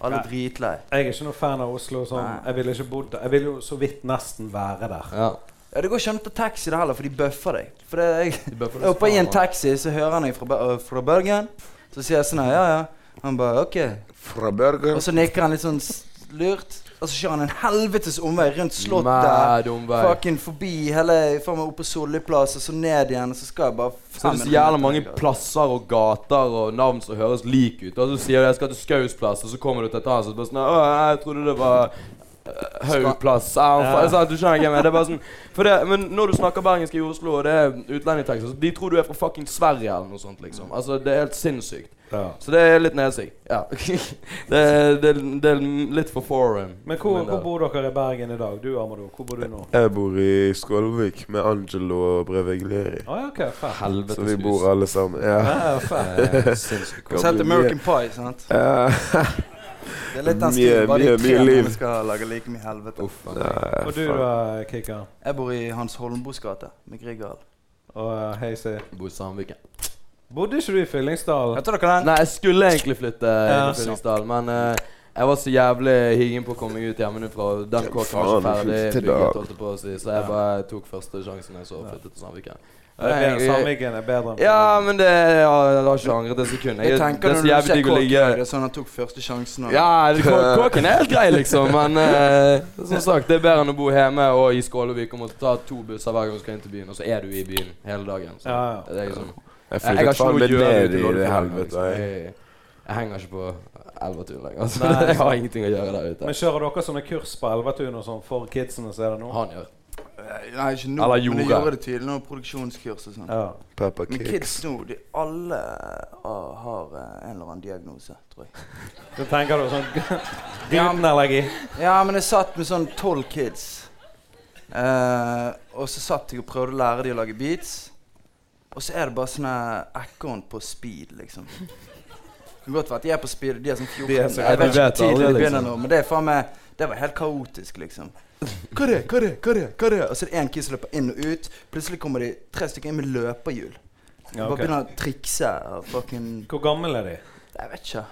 D: Alle er dritlei.
C: Jeg er ikke noe fan av Oslo. Sånn.
D: Nei.
C: Jeg ville ikke bodd der. Jeg ville jo så vidt nesten være der.
E: Ja.
D: Ja, Det går ikke an å ta taxi der heller, for de bøffer deg. For det, jeg,
E: De bøffer deg
D: jeg hopper i en
E: faen.
D: taxi, så hører han jeg fra, Bø- øh, fra Bergen. Så sier jeg sånn her, ja ja. Han bare OK.
F: Fra burger
D: Og så nikker han litt sånn s- lurt. Og så kjører han en helvetes omvei rundt slottet.
E: Mad omvei.
D: Fucking forbi hele Faen meg opp på Solli plass, og så ned igjen. Og så skal jeg bare
E: Så det er så jævla mange plasser og gater og navn som høres lik ut. Og så sier du jeg skal til Skaus plass, og så kommer du til et annet, og så bare sånn Å, jeg trodde det var eh, Haugplass. Ja, faen», sant, Du skjønner ikke hva jeg mener. Det er bare sånn for det, Men når du snakker bergensk i Oslo, og det er utlendingtekster, så de tror du er fra fucking Sverige eller noe sånt, liksom. Altså, det er helt sinnssykt.
C: Ja.
E: Så det er litt nesig. Ja. det, er- det, er- det er litt for foreign.
C: Men
E: for
C: hvor,
E: min del.
C: hvor bor dere i Bergen i dag? Du, Amado, hvor bor du nå?
F: Jeg bor i Skålvik med Angelo og Breveglieri.
C: Å ja, ok, fair.
E: Helvetes
F: Så vi
E: hus.
F: bor alle sammen. Ja.
C: Ja, fair.
E: Eh, Sinnssykt.
D: Så heter American Pie, sant?
F: Ja.
D: Det er litt den
F: Mye-
D: stilen. Bare
F: mye-
D: de tre
F: mye liv.
D: mennesker lager like mye helvete.
E: Uff, faen.
C: Og du da, Kikkan?
D: Jeg bor i Hans Holmbos gate med Grieghallen.
C: Og eh, Hazy?
E: Bor i Sandviken.
C: Bodde ikke du i Fyllingsdalen?
D: Vet dere den?
E: Nei, jeg skulle egentlig flytte eh,
C: Ja.
E: til Fyllingsdal, men eh, jeg var så jævlig higen på å komme meg ut hjemmefra. og Den kåken var
F: Faen,
E: ikke ferdig
F: flytte da.
E: bygget, holdt jeg på å si, så jeg bare tok første sjansen jeg så og flyttet til Sandviken.
C: Det er Eh, bedre-
E: Jeg-
C: Samviken er bedre enn
E: Ja, men det ja, Jeg har ikke angret et sekund. Jeg,
D: Jeg
E: det
D: tenker
E: er
D: når
E: så
D: du
E: jævlig
D: ser
E: digg å
D: Kåken,
E: ligge
D: det sånn- er sånn han tok første sjansen. og-
E: Ja, det- kå- kåken er helt grei, liksom, men eh, som sagt, det er bedre enn å bo hjemme og i Skålevik og måtte ta to busser hver gang du skal inn til byen, og så er du i byen hele dagen. Så
C: Ja, ja.
E: det er liksom jeg, jeg har
F: Jeg flyttet
E: ikke
F: faen
E: noe å
F: meg
E: gjøre
F: ned
E: ute
F: i
E: Loddefjord
F: det
E: engang,
F: helvete.
E: liksom.
F: jeg.
E: Jeg, jeg henger ikke på Elvetun lenger. Altså,
C: Nei.
E: jeg har ingenting å gjøre der ute.
C: Men kjører dere sånne kurs på Elvetun og sånn for kidsene som er det nå?
E: Han gjør
D: Eh, Nei, ikke nå,
E: Eller
D: men de
E: gjorde.
D: gjorde det tydelig nå, produksjonskurs og sånn.
C: Ja.
F: Peppa
D: Men
F: Kick.
D: kids nå, de alle ah, har eh, en eller annen diagnose, tror jeg.
C: Så tenker du sånn glutenallergi?
D: Ja, men jeg satt med sånn tolv kids. Eh, og så satt jeg og prøvde å lære dem å lage beats. Og så er det bare sånne ekorn på speed, liksom. Det kan godt være at de er på speed, og de er sånn 14.
C: De er så-
D: jeg
E: de
D: vet ikke
E: vet
D: hvor tidlig
E: aldri,
D: de begynner
E: liksom.
D: nå, men det er faen meg Det var helt kaotisk, liksom. Hva er det, hva er det, hva er det? hva er det? Og så er det én kid som løper inn og ut. Plutselig kommer de tre stykker inn med løperhjul.
C: Ja,
D: Bare
C: ok.
D: begynner å trikse og fucking
C: Hvor gammel er de?
D: Jeg vet ikke.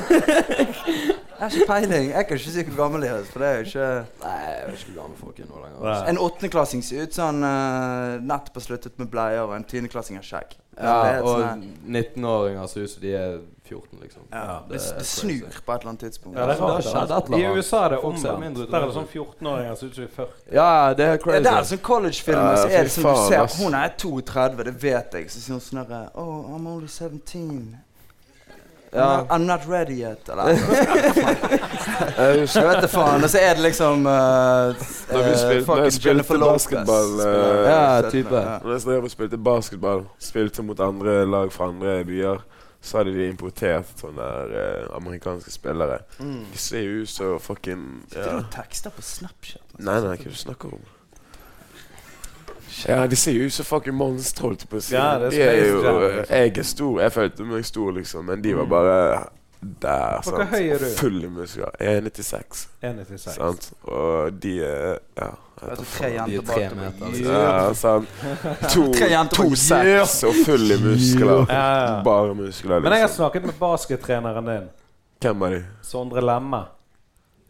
D: jeg har ikke peiling. Jeg kan ikke si hvor gammel jeg er. For det er jo ikke
E: Nei, jeg vet ikke hvor gamle folk er nå lenger.
C: Nei.
E: altså.
D: En åttendeklassing ser ut som han eh, nettopp har sluttet med bleier, og en tiendeklassing har skjegg.
E: Ja,
D: det, er
E: og
D: sånn her-
E: 19-åringer ser ut som de er 14, liksom.
D: ja,
E: Det
D: det,
E: er
D: det
E: crazy.
D: snur på et eller annet tidspunkt.
C: Ja, det er
E: har
C: rart.
E: skjedd et
C: altså.
E: eller
C: I
E: annet.
C: USA er det
E: Folk ser
C: omvendt.
E: mindre ut enn
C: Der er det
E: det.
C: sånn 14-åringer som ut som de er 40.
E: Ja, det er
D: Ja,
E: crazy.
D: det er sånn collegefilmer, så
F: Ja,
D: er det
F: fy
D: sånn du
F: faen,
D: ser
F: ass.
D: Hun er 32, det vet jeg. Så sier hun sånn herre Oh, I'm only 17.
E: Ja.
D: I'm, not, I'm not ready yet. Eller
F: Jeg husker
D: Jeg vet da faen. Og så er det liksom uh,
F: Da vi spilte- da jeg spilte basketball, eh,
E: Ja, type.
F: Når jeg drev og spilte basketball, spilte mot andre lag fra andre byer, så hadde de importert sånne der, eh, amerikanske spillere. De ser jo ut som fucking ja.
D: Du tekster på Snapchat. altså? men.
F: Nei, nei, hva er det du snakker om? Ja, de ser jo ut som fucking monstre, holdt jeg på å si.
C: Ja, det er
F: de er
C: Space
F: jo
C: Jam,
F: eh,
C: liksom.
F: Jeg er stor. Jeg følte meg stor, liksom, men de var bare der.
C: Hvor høy er du?
F: Full i muskler. 1,96.
C: 1,96.
F: Sant? Og de er Ja. jeg vet
D: Altså,
F: da
D: tre
F: faen.
E: De er
D: jenter
E: tre
D: bak
E: meter,
D: deg.
E: liksom.
F: Ja, sant. To,
D: Tre jenter
F: to
D: bare,
F: seks og full i muskler.
C: Ja, ja, ja.
F: Bare muskler.
C: Men jeg har
F: Liksom.
C: snakket med baskettreneren din,
F: Hvem er de?
C: Sondre Lemme.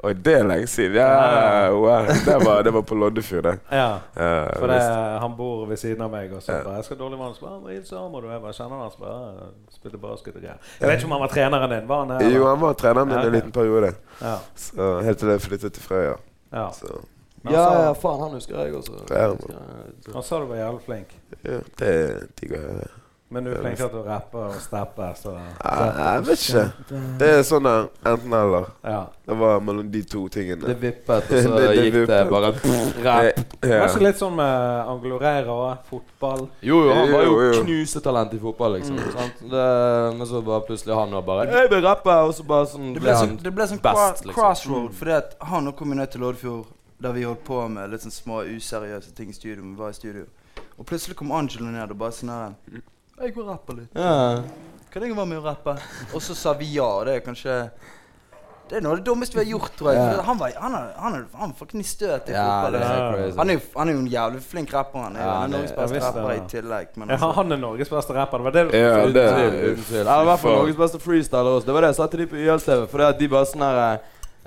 F: Oi, det er lenge siden. Ja, wow. det, var, det var på Loddefjord, det.
C: Ja,
F: Eh,
C: for det,
F: visst.
C: han bor ved siden av meg. Og så bare, jeg skal ha dårlig vann. Så bare, «Hva hilser Amor, du?» Jeg bare kjenner han. Så bare, «Ja, jeg spilte basket og greier. Jeg vet ikke om han var treneren din. Var han her?
F: Jo,
C: eller?
F: han var treneren min
C: Ja,
F: en
C: ok.
F: liten periode.
C: Ja,
F: Så, helt til jeg flyttet til Frøya.
C: ja.
F: Så
C: Men
E: Ja,
C: han, sa,
E: ja, faen, han husker jeg også.
F: Ja.
E: Jeg husker-
C: han sa du var jævlig flink.
F: ja, det er digg å høre.
C: Men du er flink til at du rapper og stepper. Så,
F: Jeg, jeg vet ikke. Det er sånn der enten-eller.
C: ja.
F: Det var mellom de to
E: Det
F: tingene.
E: vippet, og så
F: Det- det
E: gikk det
F: vippet.
E: bare
F: Det-
E: rap.
C: Det
F: ja.
C: var ikke litt sånn med Anglo Reira og fotball.
E: Jo, jo, han var
F: Jo, Mm.
E: jo
F: jo.
E: knusetalent i fotball, liksom. Sant? Det, men så bare plutselig han var bare Jeg vil rappe! Og så bare sånn
D: Det
E: ble
D: ble
E: han
D: sånn, det ble sånn
E: best,
D: cro
E: liksom.
D: crossroad, fordi at han og kom jo ned til Loddefjord, der vi holdt på med litt sånn små useriøse ting i studio. men Vi var i studio. Og plutselig kom Angelo ned og bare sånn her Jeg går og rapper litt.
E: Ja.
D: Kan jeg være med og rappe? Og så sa vi ja, og det er kanskje Det er noe av det dummeste vi har gjort, tror jeg.
E: Ja.
D: For han var han er, han er, han er fucking i støt i
E: Ja,
D: fotball.
E: det
D: liksom.
E: er crazy.
D: Han er, jo- han er jo en jævlig flink rapper. Han er jo
E: Ja,
D: en av
E: det-
D: Norges
C: jeg
D: beste
C: visste
D: rappere i
C: det.
D: tillegg. Men
A: Ja,
D: altså,
A: han er Norges beste rapper. Det var det
F: Ja, det
E: Uten tvil. uten tvil. Han er i hvert fall Norges beste freestyler også. Det var det jeg sa til de på YLTV. For det at de bare sånn her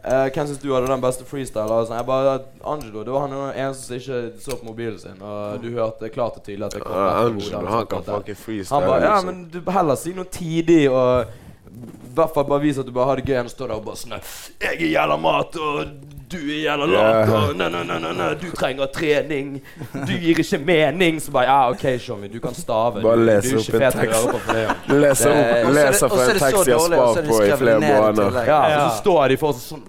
E: eh, Hvem syns du hadde den beste freestyler? Og sånn. Jeg bare Angelo. Det var han eneste som ikke så på mobilen sin. Og du hørte klart og tydelig at det kom
F: Ja,
E: rett fra hodet
F: Angelo,
E: hans
F: han
E: akkurat
F: kan
E: der.
F: fucking freestyle.
E: Han bare Ja,
F: liksom.
E: men du heller si noe tidig og i hvert fall bare vis at du bare har det gøy enn å stå der og bare sånn 'Jeg er jævla mat, og du er jævla lat,
F: Ja.
E: og nei, nei, nei, nei, nei, du trenger trening. Du gir ikke mening.' Så bare 'Ja, OK, Shommy, du kan stave.
F: Bare
E: du,
F: les
E: du er
F: opp
E: ikke
F: en
E: fet å
F: tekst.
E: høre på for det.'
F: Leser,
E: Det
D: Og så er
E: er-
F: opp,
D: det-
F: leser
D: og så
F: fra
D: er
F: en
D: det så
F: tekst jeg har
D: dårlig, og så
F: spart
D: er det
F: på i
D: skrevet
F: flere
D: ned i
F: måneder.
D: tillegg.
E: Ja,
A: Ja.
E: Så står de for sånn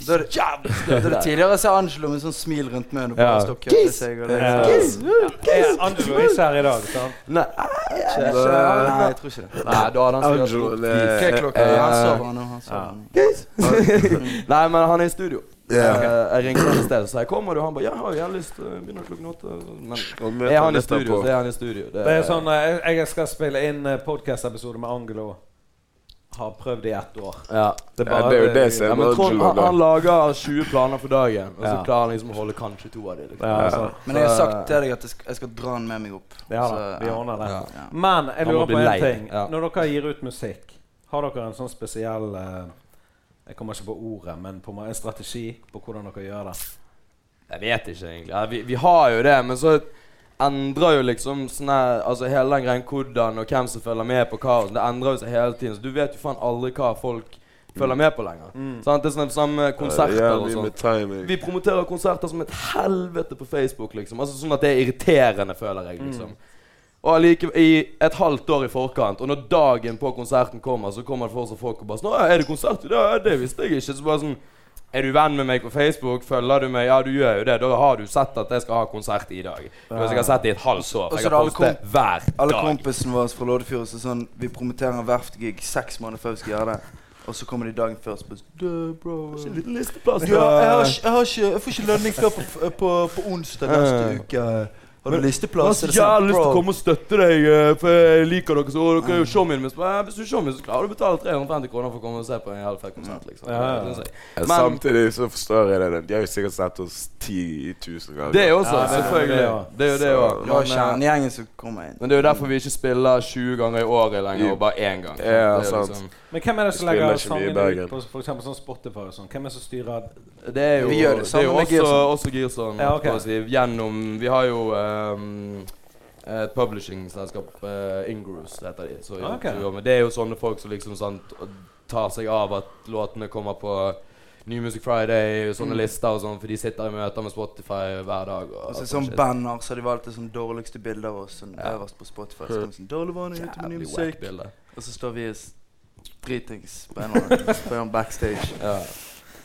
D: Da er det-
E: Jævlig
D: da er det tidligere så Angelo med sånn smil rundt munnen og bare
E: Ja.
D: stokker opp i seg. Og det, sånn-
A: Ja. Er Angelo ikke her i dag? sant?
E: Nei,
D: Ikke- Nei, jeg tror ikke det.
E: nei, da hadde han
F: Angelo
E: sikkert
F: det
D: Hva er klokka?
E: eh,
D: Han sover nå. Han sover nå.
E: Nei, men han er i studio.
F: Ja.
E: Eh, Jeg ringte han i sted, så jeg kommer, og han bare 'Ja, jeg har lyst til å begynne klokken åtte'. Men
F: Og møter
E: er han i
F: dette
E: studio,
F: på.
E: så er han i studio. Det
A: Det er sånn, eh, Jeg skal spille inn eh, podcast-episode med Angelo. Har prøvd i ett år.
E: Ja.
A: Det
F: Ja, det er jo det som
E: Ja,
F: er
E: men
F: med
E: Trond han, han
F: Angelo.
E: lager 20 planer for dagen, og så
A: Ja.
E: klarer han liksom å holde kanskje to av dem. Liksom.
A: Ja, sant.
D: Men jeg har
E: Eh.
D: sagt til deg at jeg skal, jeg skal dra han med meg opp.
A: Ja da,
D: Så,
A: vi ordner det.
E: Ja.
D: Ja.
A: Men jeg
E: Han må
A: lurer
E: bli
A: på
E: lei.
A: en ting.
E: Ja.
A: Når dere gir ut musikk, har dere en sånn spesiell eh, Jeg kommer ikke på ordet, men på en måte en strategi på hvordan dere gjør det?
E: Jeg vet ikke, egentlig. Ja, vi, vi har jo det, men så endrer jo liksom sånn her Altså hele den greien hvordan og hvem som følger med på hva. og sånn, Det endrer jo seg hele tiden. Så du vet jo faen aldri hva folk følger med på lenger. Sant? Det er sånn det samme konserter
F: Ja,
E: og
F: mye
E: sånn.
F: med timing.
E: Vi promoterer konserter som et helvete på Facebook, liksom. Altså Sånn at det er irriterende, føler jeg, liksom. Og allikevel i et halvt år i forkant, og når dagen på konserten kommer, så kommer det fortsatt folk og bare sånn 'Å, er det konsert i dag? Ja, det visste jeg ikke.' Så bare sånn er du venn med meg på Facebook? Følger du meg? Ja, du gjør jo det. Da har du sett at jeg skal ha konsert i dag. Du har sikkert sett det i et halvt år.
D: Og så er
E: Jeg
D: det
E: har
D: alle
E: postet hver
D: Alle
E: dag.
D: kompisene våre fra Loddefjord så sånn Vi promoterer en verftgig seks måneder før vi skal gjøre det. Og så kommer de dagen før og spør eh,
E: En liten listeplass.
D: Ja, jeg, har, ikke- jeg, har ikke, jeg får ikke lønning før på, f- på, på onsdag
E: Eh.
D: neste uke. Har du
E: Jeg har
D: listeplass?
E: så
D: Er det sant,
E: jævlig lyst til
D: bro?
E: å komme og støtte deg, eh, for jeg liker dere så og Dere er jo showmien min. Så bare, eh, Hvis du er showmien, så klarer du å betale 350 kroner for å komme og se på en jævlig fett konsert, liksom.
A: Ja, ja.
E: Det synes jeg.
F: Ja,
E: Men-
F: Samtidig så forstår jeg det. De har jo sikkert sett oss 10 000 ganger.
E: Det er også,
A: Ja, det er- det
E: selvfølgelig.
A: er jo-
E: Det er jo det
F: Så-
E: også.
D: Det var
E: Men, eh,
D: kjernegjengen som kom inn.
E: Men det er jo derfor vi ikke spiller 20 ganger i året lenger, og bare én gang.
F: Ja,
E: Det er
F: sant.
E: liksom-
A: Men hvem er det som
F: Vi spiller
A: legger
F: ikke mye i
A: sangene ut
F: Bergen.
A: på for eksempel sånn Spotify og sånn? Hvem er det som styrer
E: Det er jo,
D: Vi gjør det
E: det er
D: samme
E: jo
D: med
E: også,
D: Gearson.
E: også Gearson.
A: Ja, ok.
E: kan man si, gjennom Vi har jo ehm, et publishingselskap, uh, Ingrus heter de. Så,
A: Ah, ok.
E: så jobber- det er jo sånne folk som liksom sånn t- tar seg av at låtene kommer på New Music Friday,
D: Mm.
E: sånne lister og sånn, for de sitter i møter med Spotify hver dag. Og,
D: Og så
E: alt
D: sånn
E: sånt shit.
D: banner, så har de valgt det sånn dårligste bildet av oss sånn øverst på Spotify. Så kommer det sånn, Dårlig vane ute med ny
E: Jævlig
D: musikk.
E: wack bilde.
D: Og så står vi og s- dritings på en eller annen på en backstage.
E: Ja.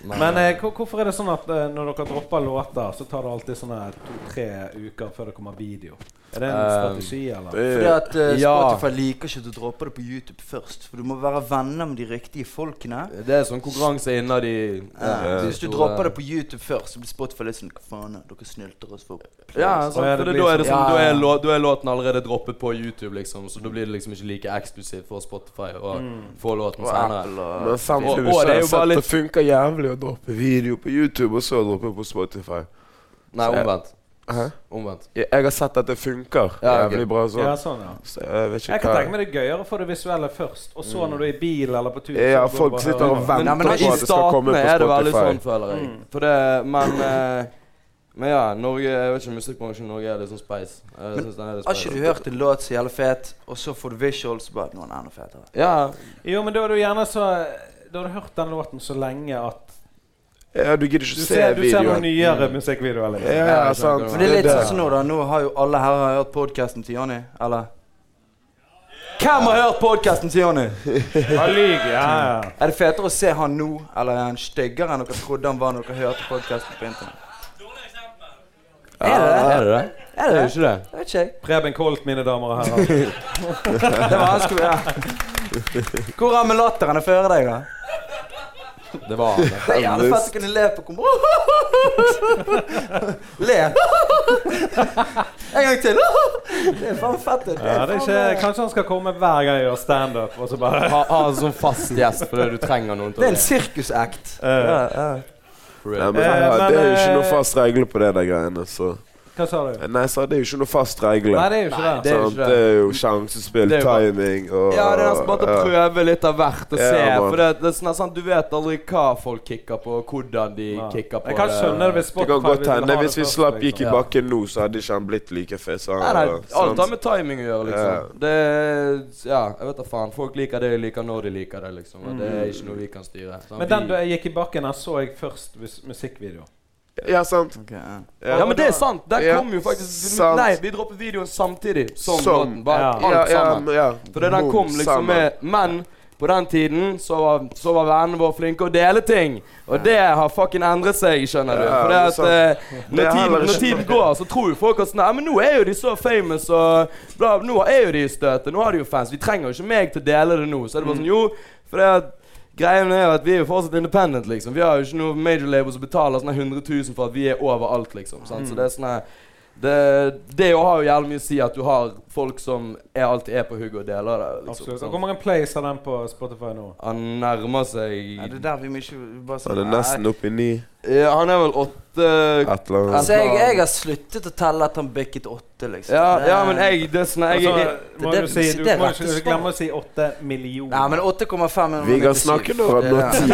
A: Men eh, hvor- hvorfor er det sånn at eh, når dere dropper låter, så tar det alltid sånne to-tre uker før det kommer video? Er det en
E: Eh,
A: strategi, eller?
F: Det
D: Fordi
F: er
D: at eh,
E: Ja.
D: Spotify liker ikke at du dropper det på YouTube først. For du må være venner med de riktige folkene.
E: Det er sånn konkurranse innad i
D: Eh, så hvis du
E: store-
D: dropper det på YouTube først, så blir Spotify litt sånn Hva faen, er det? dere snylter oss for
E: Ja,
A: Å,
E: sant,
A: ja, det
E: for det,
A: blir
E: da, er det
D: sånn.
E: sånn,
D: Ja,
E: da,
D: ja.
E: er lå, da er låten allerede droppet på YouTube, liksom, så da blir det liksom ikke like eksklusivt for Spotify å
D: Mm.
E: få låten
D: Og
E: senere.
D: Apple og
F: men
E: Og-
F: samtidig
E: og
F: så har
E: det er jo
F: jeg
E: bare
F: sett det
E: litt-
F: funker jævlig å droppe video på YouTube, og så droppe på Spotify.
E: Nei, omvendt.
F: Hæ?
E: Omvendt.
F: Jeg, jeg har sett at det funker
E: Ja, ok.
F: jævlig bra sånn.
A: Ja, sånn, ja.
F: Så jeg vet
A: Jeg
F: ikke
A: kan
F: hva
A: tenke meg det er gøyere å få det visuelle først, og så når du er i bil eller på tur.
F: Mm. Ja,
A: så går du
F: folk
A: bare
F: sitter og
A: hører.
F: venter
D: Men- men
F: på
D: i
F: at det skal komme
E: Statene
F: på
E: er det veldig sånn,
F: Spotify.
E: føler jeg.
D: Mm.
E: For det, men eh, Men ja, Norge Jeg vet ikke, musikkbransjen i Norge er litt sånn speis. Jeg synes den er litt
D: Har ikke du
E: speis.
D: hørt en låt som er jævlig fet, og så får du visuals og bare Nå er den enda fetere.
E: Ja.
A: Jo, men da er du gjerne så Da har du hørt den låten så lenge at
F: Ja, du gidder
A: Du
F: ikke se
A: ser, du ser noen
F: videoen. Mm.
A: nyere musikkvideoer. Liksom.
E: Ja,
F: Ja,
E: jeg
F: sant.
E: skjønner.
D: Men det er litt
E: Det er
D: sånn
E: det.
D: som nå, da. Nå har jo alle her har hørt podkasten til Jonny, eller? Hvem har hørt podkasten til Jonny?
A: Han lyver. Ja, ja.
D: Er det fetere å se han nå, eller er han styggere enn dere trodde han var når dere hørte podkasten på internett?
E: Er det det? Er det det?
D: Er det
E: Er det
D: det?
E: ikke det?
D: Jeg vet ikke, jeg.
A: Preben Kolt, mine damer og herrer.
D: Det var han skulle ja. Hvor er med latteren før deg, da?
E: Det var han.
D: Det er jævlig fett å kunne le på kombo. Le. En gang til. Det er faen fett. Det
C: Ja,
D: er
C: det er
D: faen eh,
C: ikke, kanskje han skal komme hver gang jeg gjør standup. og så bare-
E: Ha, ha en sånn fast gjest fordi du trenger noen til
D: det
E: å
D: er en
E: le.
D: sirkusact.
C: Eh,
E: For
F: Nei,
E: real.
F: men,
C: Eh,
F: ja,
C: men,
F: det er jo ikke
C: eh,
F: noe fast regel på det der greiene, så
C: Hva sa du?
F: Nei, jeg sa det er jo ikke noe fast regle.
C: Nei, det er jo ikke det.
E: det er jo
F: Sant?
E: ikke
F: Det
E: det.
F: er jo sjansespill,
E: Det er jo bare-
F: timing og
E: Ja, det er nesten bare å
F: ja.
E: prøve litt av hvert og
F: Ja,
E: se.
F: man.
E: For det, det er sånn, sant, Du vet aldri hva folk kicker på, og hvordan de
C: Nei.
E: kicker på.
C: Jeg kan skjønne det hvis
F: Det
C: Spotify
F: kan godt
C: ville ha
F: hende.
C: det
F: Hvis vi
C: først,
F: slapp
C: liksom.
F: gikk i
E: Ja.
F: bakken nå, så hadde ikke han blitt like fet som
E: Nei,
F: han
E: nei,
F: var.
E: alt har
F: sant?
E: med timing å gjøre, liksom. Det er Ja, jeg vet da faen. Folk liker det de liker når de liker det, liksom. Og det er ikke noe vi kan styre.
C: Mm.
E: sant?
C: Men den
E: Vi-
C: du gikk i bakken, her så jeg først mus- musikkvideo.
F: Ja, sant.
E: ja, men det er sant. Den
F: Ja,
E: kom jo faktisk
F: sant.
E: Nei, vi droppet videoen samtidig som,
F: Som.
E: låten. Bare
C: Ja.
E: alt
F: Ja, ja,
E: sammen.
F: men- ja.
E: For det den kom
F: Boom,
E: liksom
F: sammen.
E: med Men på den tiden så var, så var vennene våre flinke å dele ting. Og det har fucking endret seg, skjønner du.
F: Ja,
E: For det
F: det er
E: at
F: sant.
E: eh,
F: Det
E: når,
F: er heller
E: tiden,
F: ikke
E: når tiden går, så tror jo folk at sånn Nei, men nå er jo de så famous, og bla, nå er jo de i støtet. Nå har de jo fans. Vi trenger jo ikke meg til å dele det nå. Så
F: Mm.
E: er det bare sånn Jo, for det at Greien er jo at vi er jo fortsatt independent, liksom. Vi har jo ikke noe major label som betaler sånne 100 000 for at vi er overalt, liksom. Sant? Så det er sånn her det, det jo har jo jævlig mye å si at du har folk som er alltid er på hugget og deler det. Liksom.
C: Absolutt. Og Hvor
E: Sant?
C: mange plays har den på Spotify nå?
E: Han nærmer seg
D: Ja, det er der vi må ikke bare
F: Han er nesten oppe i ni.
E: ja, Han er vel åtte
F: Et eller annet.
E: Altså,
D: Så Altså, jeg, jeg har sluttet å telle at han bikket åtte, liksom.
E: Ja,
D: Det-
E: ja men jeg Det er sånn jeg, jeg,
C: Altså, må
D: det-
C: du, si, du
D: det er
C: må
D: rett
C: ikke
D: svar.
C: glemme å si åtte millioner.
D: Nei, men 8,5 er
F: Vi kan snakke når han når
D: ti.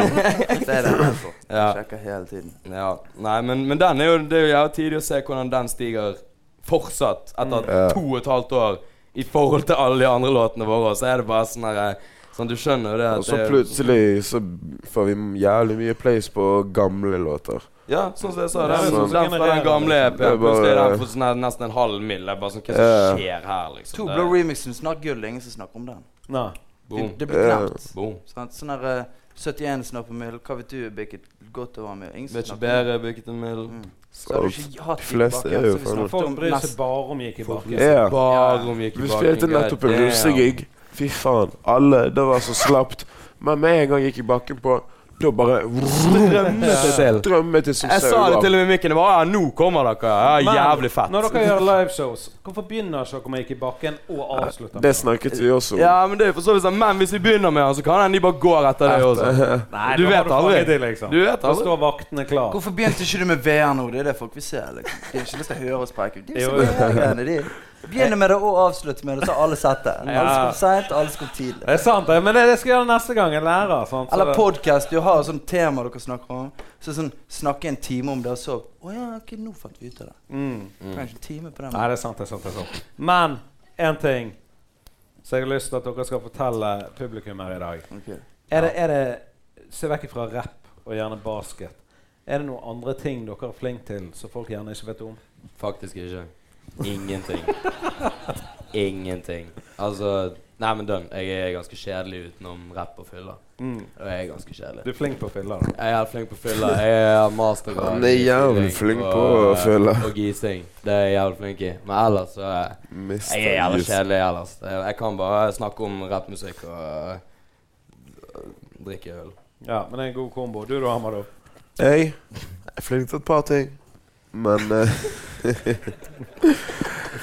D: Det er det. jeg får.
E: ja,
D: Jeg Sjekker hele tiden.
E: ja. Nei, men, men den er jo Det er jo jævlig tidlig å se hvordan den stiger fortsatt etter
F: Mm. Ja.
E: to og et halvt år i forhold til alle de andre låtene våre. Så er det bare sånn her Sånn, du skjønner jo det. at
F: Og så
E: det er-
F: plutselig så får vi jævlig mye plays på gamle låter.
E: Ja, sånn som jeg sa.
C: Ja,
E: Den,
F: sånn.
E: den fra den gamle
F: Det er
E: EP-en.
F: bare-
E: Plutselig er den på sånn her nesten en halv mil. Det er bare sånn Hva
F: Ja.
E: som skjer her, liksom?
D: To
E: Det-
D: blå remixen, snart gull. Ingen som snakker om den.
C: Nei.
D: Det,
E: Boom.
D: det blir
F: Ja.
D: glemt.
E: Boom.
D: Sant? Sånn der eh, 71 snart på middel. Hva vet du, Bikket? Godt over middel. Ingen som
E: Vet
D: snakker
E: ikke
D: om det.
E: bedre, bygget en middel.
D: Mm. Så har du
F: Så
D: ikke hatt
F: de fleste
D: tilbake,
F: er jo
D: så vi
F: faen-
D: snakket
C: Folk
D: om
C: bryr seg
D: nest-
C: bare om gikk i bakken.
F: Ja.
E: Bare om vi gikk
F: Vi
E: tilbake,
F: spilte
E: god
F: nettopp en
E: damn.
F: russegig. Fy faen. Alle. Det var så slapt. Men med en gang jeg gikk i bakken på, da bare
E: Strømmet til.
F: strømmet det som
E: Jeg sa det
F: sauer.
E: til og med i mikken. Det var, ja, nå kommer dere. Ja,
C: Men,
E: jævlig fett.
C: Når dere gjør liveshows, hvorfor begynner ikke dere med gikk i bakken og avslutter?
F: Det snakket vi også om.
E: Ja, men det er for så vidt sånn Men hvis vi begynner med han, så kan han de bare går etter det også.
C: Nei,
E: Du
C: da har
E: vet aldri.
C: fanget det, liksom.
E: Du vet
C: Da
E: aldri.
C: står vaktene klar.
D: Hvorfor begynte ikke du med VR nå? Det er det folk vil se. liksom. De har ikke lyst til å høre oss preike. De vil
C: Jo.
D: se VR-greiene, de. Begynner med det og avslutter med det, så har alle sett det. Alle
C: Ja.
D: skal seint, alle skal tidlig.
C: Det er sant, det, men det, det skal jeg gjøre neste gang jeg lærer. Sant? Så
D: Eller
C: det-
D: podkast. Du har sånn tema dere snakker om. Så sånn, Snakke en time om det, og så Å ja, ok, nå fant vi ut av det.
C: Mm.
D: Kanskje en time på den.
C: Nei, det er sant, det er sant. det er sant Men én ting som jeg har lyst til at dere skal fortelle publikum her i dag.
D: Ok.
C: Er det, er det Se vekk fra rapp og gjerne basket. Er det noen andre ting dere er flinke til som folk gjerne ikke vet om?
E: Faktisk ikke. Ingenting. Ingenting. Altså Nei, men dønn. Jeg er ganske kjedelig utenom rapp og fylla.
C: Mm.
E: Og jeg er ganske kjedelig.
C: Du er flink på fylla. da.
E: Jeg er flink på fylla. Jeg er mastergrad.
F: Han er jævlig
E: i
F: flink
E: og-
F: på fylla.
E: Og gising. Det er jeg jævlig flink i. Men ellers så er
F: Mr.
E: jeg er jævlig
F: Yes.
E: kjedelig ellers. Jeg jeg kan bare snakke om rappmusikk og øh, drikke øl.
C: Ja, men det er en god kombo. Du da, Amado?
F: Jeg er flink til et par ting. Men eh,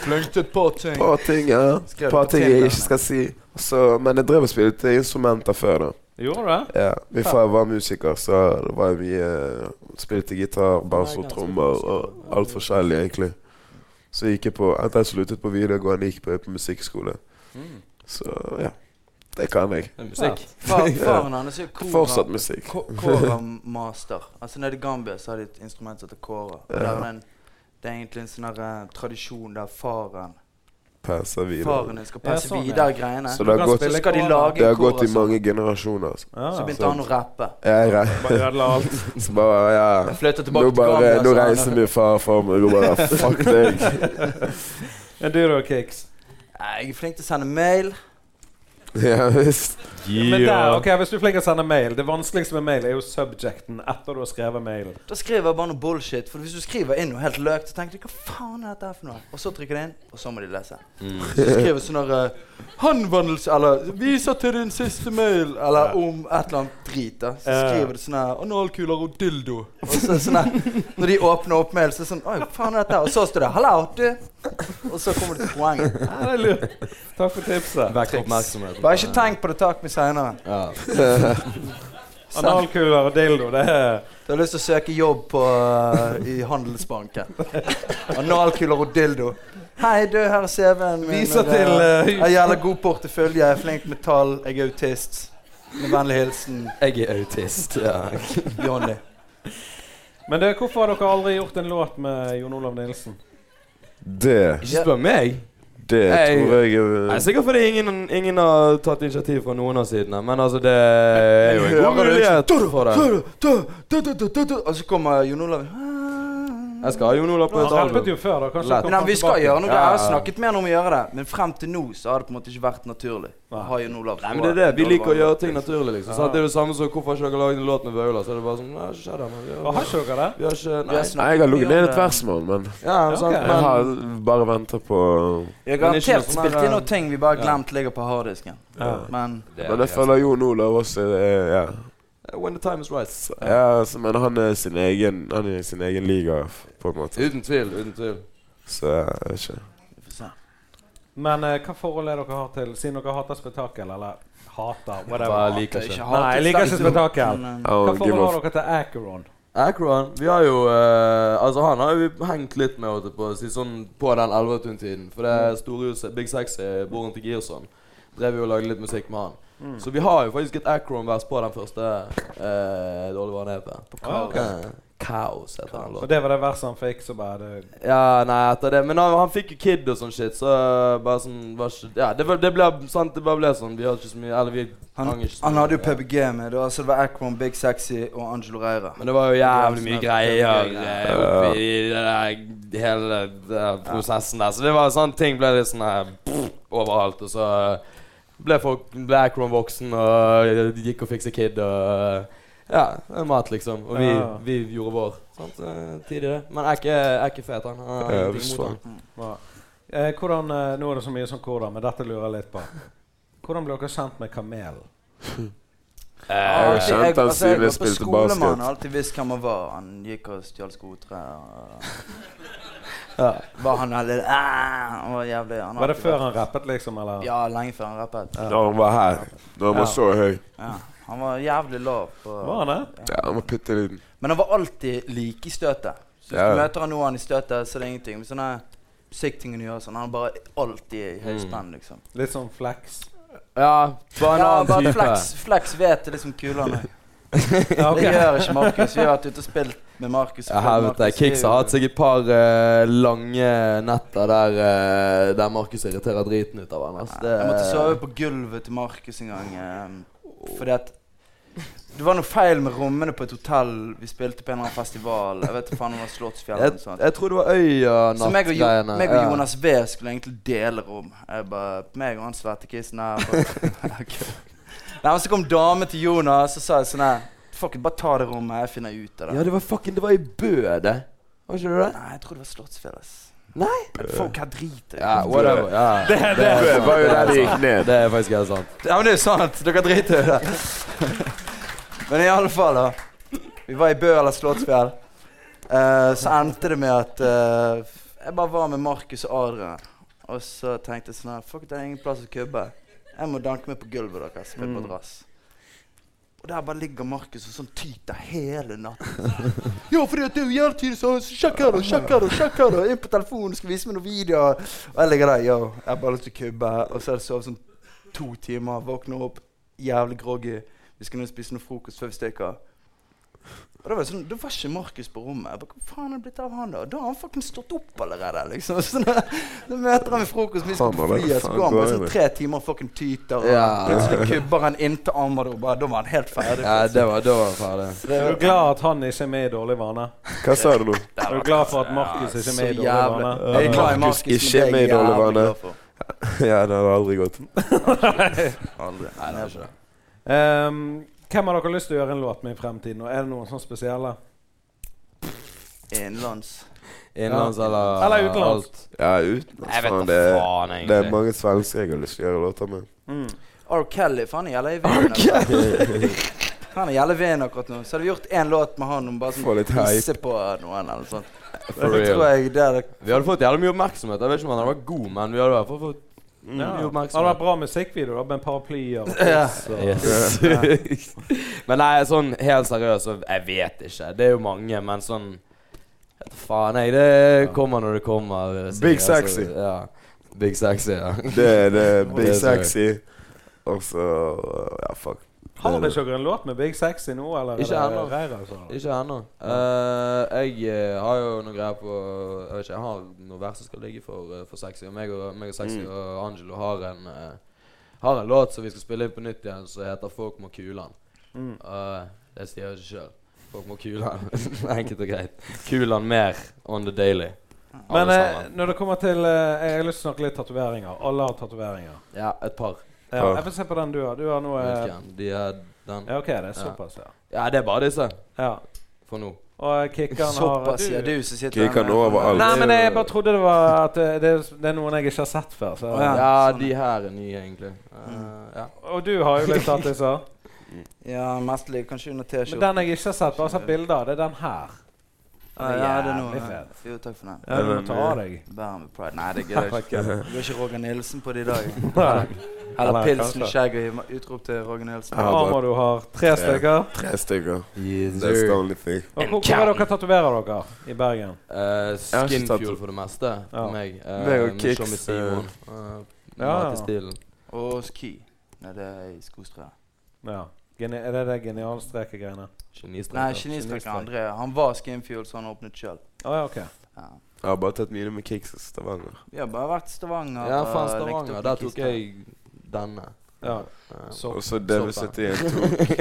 D: Fløntet på ting.
F: et par ting ja.
D: Skrev
F: Et
D: det
F: par
D: på
F: ting jeg
D: Tinder,
F: ikke skal si. Så, men jeg drev og spilte instrumenter før, da.
C: Gjorde du det?
F: Ja. Vi fra jeg var musiker, så det var jo mye eh, Spilte gitar, bass og trommer og alt forskjellig, egentlig. Så gikk jeg på Etter jeg sluttet på videregående, gikk jeg på musikkskole.
D: Mm.
F: Så ja. Det kan jeg.
E: Det er musikk.
D: Far, faren hans er kora-
F: Fortsatt musikk.
D: ko- Kora-master. Altså Nede i Gambia så har de et instrument som heter kora. Og det, er en, det er egentlig en sånn der, eh, tradisjon der faren
F: Passer videre.
D: Faren din skal
C: Ja,
D: passe
C: sånn, ja.
D: videre greiene.
F: Så det har gått,
D: Så skal de
F: det
D: lage
F: har
D: en
F: gått i
D: kora.
F: mange generasjoner. altså.
C: Ah, Ja, sånn.
D: Så
C: ja.
D: begynte han å rappe.
F: Jeg er
C: Bare ødela alt.
F: Så bare ja.
D: Flyttet
F: Nå,
D: tilbake til altså.
F: bare,
D: Gambia.
F: nå
D: så han-
F: reiser min far for meg. Nå bare Fuck deg.
C: Men du da, Kix?
D: Nei, Jeg er flink til å sende mail.
F: Ja visst.
C: Men der, ok, Hvis du er flink til å sende mail Det vanskeligste med mail er jo subjecten etter du har skrevet mailen.
D: Da skriver jeg bare noe bullshit. For hvis du skriver inn noe helt løk, så tenker de hva faen er dette her for noe? Og så trykker de inn, og så må de lese.
F: Mm.
D: Så skriver sånn der eh, Henvendelse Eller 'Viser til din siste mail', eller om et eller annet drit. da Så
C: Ja.
D: skriver de sånn her 'Analkuler og dildo'. Og så er det sånn her Når de åpner opp mail, så er det sånn 'Oi, hva faen er dette?' Og så står det 'Hallo, du'. Og så kommer det til poenget.
C: Ja, det er lurt. Takk for tipset.
E: Vekk oppmerksomheten.
D: Bare ikke tenk på det, takk meg seinere.
E: Ja.
C: Analkuler og dildo, det er
D: Du har lyst til å søke jobb på, eh, i Handelsbanken. Analkuler og dildo. Hei, du, her er CV-en min.
C: Viser
D: og det-
C: til, eh,
D: Jeg har jævla god portefølje, jeg er flink med tall, jeg er autist. Med vennlig hilsen
E: Jeg er autist. Ja.
D: Johnny.
C: Men det, hvorfor har dere aldri gjort en låt med Jon Olav Nilsen?
F: Det,
E: Ikke spør meg.
F: det
E: Nei,
F: tror jeg eh,
E: Nei,
F: er
E: sikkert fordi ingen, ingen har tatt initiativ fra noen av sidene. Men altså, det er jo en god mulighet for det.
D: Og så kommer Jon Olav. Ah.
E: Jeg skal ha Jon Olav på
C: Han
E: et
C: rappet jo
E: album.
C: før, da. Kanskje
E: Lett.
C: dere
D: Men nei,
C: kommer
D: vi skal
C: tilbake.
D: gjøre noe. Jeg
E: Ja,
D: har
E: ja.
D: snakket med ham om å gjøre det. Men frem til nå så har det på en måte ikke vært naturlig. å ha Jon Olav
E: Nei, men det er det. Vi liker å gjøre ting naturlig, liksom. Sant? det er det samme som hvorfor har ikke dere laget en låt med Vøla? Så er det bare sånn Nei, skjer det? Men vi
C: Og
E: har,
C: Har ikke dere det?
E: vi har ikke
D: Vi har
E: Nei.
F: Nei, jeg har
D: snakket
F: ligget
D: mye om
F: ned et
D: det.
F: vers, mann, men
E: Ja, sant.
C: ok.
F: jeg
E: Men
F: har bare venta på
D: Jeg har
E: Men ikke noe
D: garantert
E: sånn
D: spilt
E: her,
D: inn noen
E: eh,
D: ting vi bare har
E: ja.
D: glemt ligger på harddisken.
C: Ja.
D: Men
F: Men jeg
E: altså.
F: føler Jon Olav også er ja.
E: eh, When the time is right.
F: ja, altså, Men han er sin egen Han er i sin egen liga, på en måte.
E: Uten tvil. Uten tvil.
F: Så jeg vet ikke.
D: vi får se.
C: Men eh, hva forhold er dere har til Siden dere hater spetakkel, eller hater,
E: Bare
C: whatever.
E: liker ikke.
D: hat
C: Nei, jeg
D: til
C: liker ikke
D: Steinfeld,
C: spetakkel.
D: men, eh,
F: I
C: Hva
F: don't give
C: forhold har
F: a
C: dere til Acheron?
E: Akron, vi har jo eh, Altså Han har jo vi hengt litt med holdt jeg på å si sånn på den Elvetun-tiden. For
D: Mm.
E: det storhuset Big Sexy, broren til Girson, drev jo og lagde litt musikk med han.
D: Mm.
E: Så vi har jo faktisk et Akron-vers på den første eh, Dårlig vane-EP.
C: Kaos.
E: Eh, Kaos heter den
C: Og
E: låten.
C: det var det verset han fikk, så bare det,
E: Ja, nei, etter det Men han, han fikk jo kid og sånn shit, så bare sånn var ikke, Ja, det, var- det ble sant, det bare ble sånn. Vi hadde ikke så mye Eller vi
D: Han,
E: hang ikke så mye.
D: han hadde jo
E: ja.
D: PBG med. Det var, så det var Akron, Big Sexy og Angelo Reira.
E: Men det var jo jævlig mye
D: Sånn at-
E: greier
D: Ja.
E: eh, oppi det der eh, hele den prosessen der. Så det var sånn ting ble litt sånn her pff, overalt. Og så eh, ble folk ble Akron voksen og eh, gikk og fikset kid og eh, Ja, mat, liksom. Og vi,
C: Ja.
E: vi gjorde vår. Sant? Eh, Tidligere. Men jeg er ikke, jeg er ikke fet, han. Jeg har
F: Ja,
E: ingenting
F: visst
E: imot
F: faen.
E: han.
C: Ja. Eh, hvordan, eh, nå er det så mye som hvordan, men dette lurer jeg litt på. Hvordan ble dere kjent med Kamelen?
E: Eh,
D: Alltid-
F: kjente
D: altså,
F: han
D: jeg
F: siden jeg
D: var på
F: spilte
D: skole med
F: basket.
D: Han har alltid visst hvem han var. Han gikk og stjal skotre. og-
E: Ja.
D: Var han veldig ah, Han var jævlig han har
C: Var det
D: alltid
C: før
D: vært-
C: han rappet, liksom? Eller?
D: Ja, lenge før han rappet.
F: Når han var her. Når han var så høy.
D: Ja. Han var jævlig lav. på-
C: Var han det?
F: Ja, han var bitte liten.
D: Men han var alltid like i støtet. Så hvis
F: Ja.
D: du møter han nå han er i støtet, så er det ingenting. Men sånne musikktingene gjør sånn. Han er bare alltid i høyspenn, liksom.
C: Litt sånn flex?
E: ja, bare en
D: Ja,
E: annen
D: bare
E: type.
D: Flex, flex vet det liksom kulere.
C: Ja, ok.
D: Det gjør ikke Markus. Vi har vært ute og spilt med Markus.
E: Ja, helvete. Kix har hatt seg et par eh, lange netter der, eh, der Markus irriterer driten ut av han. Altså. Det,
D: Jeg måtte sove på gulvet til Markus en gang. eh, fordi at det var noe feil med rommene på et hotell. Vi spilte på en eller annen festival. Jeg vet faen om det var Slottsfjell eller
E: Jeg,
D: noe sånt.
E: jeg tror det var
D: Så meg og, jo,
E: Øya-natt-greiene.
D: meg og Jonas V skulle egentlig dele rom. Jeg bare, meg og han svette kissen her. bare- Ok. Nei, men Så kom damen til Jonas og sa jeg sånn her Fuck it, bare ta det rommet. Jeg finner ut av
E: Ja.
D: det.
E: ja, det var fucking Det var i Bø, det. Var ikke det det?
D: Nei, jeg tror det var Slottsfjell. ass.
E: Nei?
D: Men Folk her driter.
E: Ja, whatever. Ja. Det, er
F: Det
E: sant,
F: var jo
E: det
F: der
E: er
F: det
E: sant.
F: gikk ned.
E: Det er faktisk helt sant.
D: Ja, men det er jo sant. Dere driter i det. Men i alle fall, da. Vi var i Bø eller Slottsfjell. Eh, så endte det med at eh, jeg bare var med Markus og Adrian. Og så tenkte jeg sånn her Fuck, det er ingen plass å kubbe. Jeg må danke meg på gulvet deres. på en madrass. Og der bare ligger Markus og sånn tyter hele natten. ja, fordi at det er jo hele tiden så Sjekk her, da. Sjekk her, da. Sjekk her, da. Inn på telefonen, skal vise meg noen videoer. Og jeg ligger der. Yo, jeg har bare lyst til å kubbe. Og så har jeg sovet sånn to timer. Våkner opp jævlig groggy. Vi skal nå spise noe frokost før vi stikker. Og det var sånn, det var ikke Markus på rommet. Jeg bare, Hva faen er det blitt av han Da Og da har han fucking stått opp allerede. liksom. Så da, da møter han med frokost, vi skal
F: Faen,
D: på
F: hva er det?
D: flyet, så
F: Faen,
D: går han bare
F: går
D: sånn
F: det?
D: tre timer og fucking tyter. Og
E: Ja.
D: plutselig kubber han inntil Amado. og bare, Da var han helt ferdig.
E: Ja, det var, det var ferdig.
C: Er du glad at han ikke er med i Dårlig vane?
F: Hva sa du nå?
C: Er du glad for at Markus ikke er
D: Så
C: med i Dårlig
D: jævlig.
C: vane?
D: Jeg er glad i Markus,
F: Markus
D: men
F: ikke
D: det er
F: med i
D: jeg
F: Dårlig
D: jævlig
F: Vane.
D: glad for.
F: ja, det hadde aldri gått.
D: Aldri.
E: Nei, det er ikke det.
C: Ehm, hvem har dere lyst til å gjøre en låt med i fremtiden? Og er det noen sånn spesielle?
D: Innenlands.
E: Innenlands eller
C: Eller utenlands.
E: alt.
F: Ja, uten
E: Jeg vet da
F: faen, det, er-
E: faen, egentlig.
F: det er mange svensker jeg har lyst til å gjøre låter med.
D: R. Kelly, for han er jævla i vinden. akkurat. Han er jævla i vinden akkurat nå. Så hadde vi gjort én låt med han om bare
F: Få
D: sånn
F: litt hype.
D: pisse på noen eller noe sånt.
E: For
D: Det tror
E: real.
D: jeg det er det
E: Vi hadde fått jævlig mye oppmerksomhet. Jeg vet ikke om han hadde vært god, men vi hadde i hvert fall fått mye
C: Hadde vært
E: oppmerksomhet.
C: bra musikkvideo da, med paraplyer. og tips og-
E: Yes. men nei, sånn helt seriøst, så jeg vet ikke. Det er jo mange, men sånn vet da Faen, jeg. Det kommer når det kommer. vil jeg si.
F: Big
E: Altså,
F: Sexy.
E: ja. Big Sexy, ja.
F: Det er det
E: Det
F: Big
E: tror jeg.
F: Sexy. Og så øh, Ja, fuck.
C: Har dere ikke en låt med Big Sexy nå, eller? er
E: Ikke
C: det
E: ennå.
C: reir, altså?
E: Ikke ennå. Eh, jeg eh, har jo noe greier på Jeg vet ikke, jeg har noe vers som skal ligge for, eh, for sexy. Og meg og, meg og sexy og Angelo har en, eh, har en låt som vi skal spille inn på nytt igjen, som heter 'Folk må kule'n'.
C: Mm.
E: Eh, det sier jeg ikke sjøl. Folk må kule'n. Enkelt og greit. Kule'n mer on the daily. Alle
C: Men eh,
E: sammen.
C: når det kommer til eh, Jeg har lyst til å snakke litt tatoveringer. Alle har tatoveringer.
E: Ja, et par.
C: Ja,
F: Ja.
C: jeg får se på den du har. Du har noe eh,
E: Hvilken? De er den.
C: Ja, OK, det er
E: Ja.
C: såpass, ja.
E: Ja, det er bare disse
C: ja.
E: for nå.
C: Og Kikkan har
D: Såpass, ja. Du som sitter
F: Kikker nå overalt.
C: Nei, men jeg bare trodde det var at eh, det, er- det er noen jeg ikke har sett før. Så.
D: Å, ja.
E: Ja,
D: sånn,
E: de her er nye, egentlig.
C: Mm.
E: Eh, ja.
C: Og du har jo litt tattiser.
D: Ja, mestlig. Kanskje under
C: Men
D: T-skjorten.
C: den jeg ikke har sett, bare har sett bilder av, det er den her.
D: Ja, ja, det er
C: Jævlig
D: noe.
C: fet.
D: Jo, takk for den.
C: Ja, du må ta av deg.
D: Bærer med pride. Nei, det gidder jeg ikke. Du er ikke Roger Nilsen på det i dag.
C: Nei,
D: Eller pilsen,
C: kanskje.
D: skjegg og himmel. utrop til Roger Nilsen.
F: Ja. har bare-
C: Armer du har. Tre stykker.
F: Tre stykker. That's the only thing.
C: Og hvor, hvor er dere tatoverer dere i Bergen?
E: Uh,
F: har ikke tatt-
E: Skinfuel for det meste.
C: Ja.
E: For meg. Uh,
F: Meg og Kicks,
E: ja,
C: ja, ja.
E: Eh, Stilen.
D: Og ski. Nei, det er i skostrøya.
C: Ja. Geni er det det genialstreke-greiene?
D: Nei,
E: Genistrek.
D: genistreken André. Han var Skinfuel, så han åpnet sjøl.
C: Å ja, OK.
D: Ja.
F: Jeg har bare tatt mine med Kicks i Stavanger.
D: Vi har bare vært i Stavanger. eh,
E: Ja,
D: og
E: faen,
D: lekt
E: Stavanger.
D: opp
E: Der
D: med
E: tok
D: kister.
E: jeg denne.
C: Ja.
E: Eh,
C: Så
F: Og så DV71 tok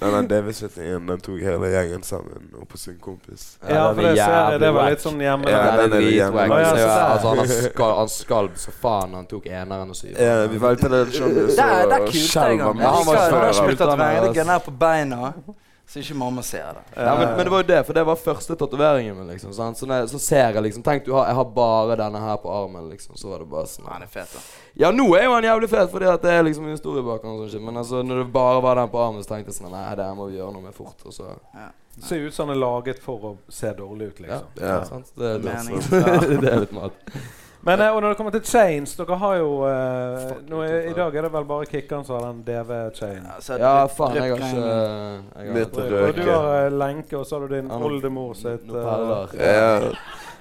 F: Nei, nei, DV71 den tok hele gjengen sammen opp hos en kompis.
C: Ja,
E: den
C: for
E: er
C: det ser jeg.
E: jævlig
C: Det var
E: wack.
C: litt sånn hjemme.
F: Ja,
E: den er
F: den er
E: dritwack.
F: jævlig
C: wack. Ja,
E: Så,
C: så
E: altså, han, skal, han skalv så faen han tok eneren og syveren.
F: Ja, vi valgte den
D: Der, der
F: sjangeren, så
D: kulte jeg han.
F: skjelv
D: Jeg
E: Ja, han var
D: liker at
E: svær,
D: han har
E: da.
D: sluttet å
E: Kulte han,
D: være
E: ass.
D: det greiene her på beina, så ikke mamma ser det.
E: Ja, men, men det var jo det, for det var første tatoveringen min. liksom sant? Så, når jeg, så ser jeg liksom Tenk, du har, jeg har bare denne her på armen, liksom. Så var det bare sånn
D: Nei, han er fet, da.
E: Ja, nå er jo han jævlig fet, fordi at det er liksom en historie bak han. og sånn shit, Men altså, når det bare var den på armen, så tenkte jeg sånn Nei, det her må vi gjøre noe med fort. Og så
C: Ser ut som den er laget for å se dårlig ut, liksom.
F: Ja.
E: sant? Det, det,
D: Meningen.
E: det er litt mat.
C: Men eh, og når det kommer til chains, dere har jo eh, nå, er- I dag er det vel bare Kikkan som har den DV-chainen.
D: Ja, så jeg
E: Ja,
D: drøp-
E: faen, jeg har
D: drøpte
E: ikke
D: greiene.
E: jeg har
F: Litt
E: ikke-
C: Og du
F: Røke.
C: har eh, lenke, og så har du din
E: Ja, no-
C: oldemor sitt
E: noen
C: eh,
E: perler.
F: Ja.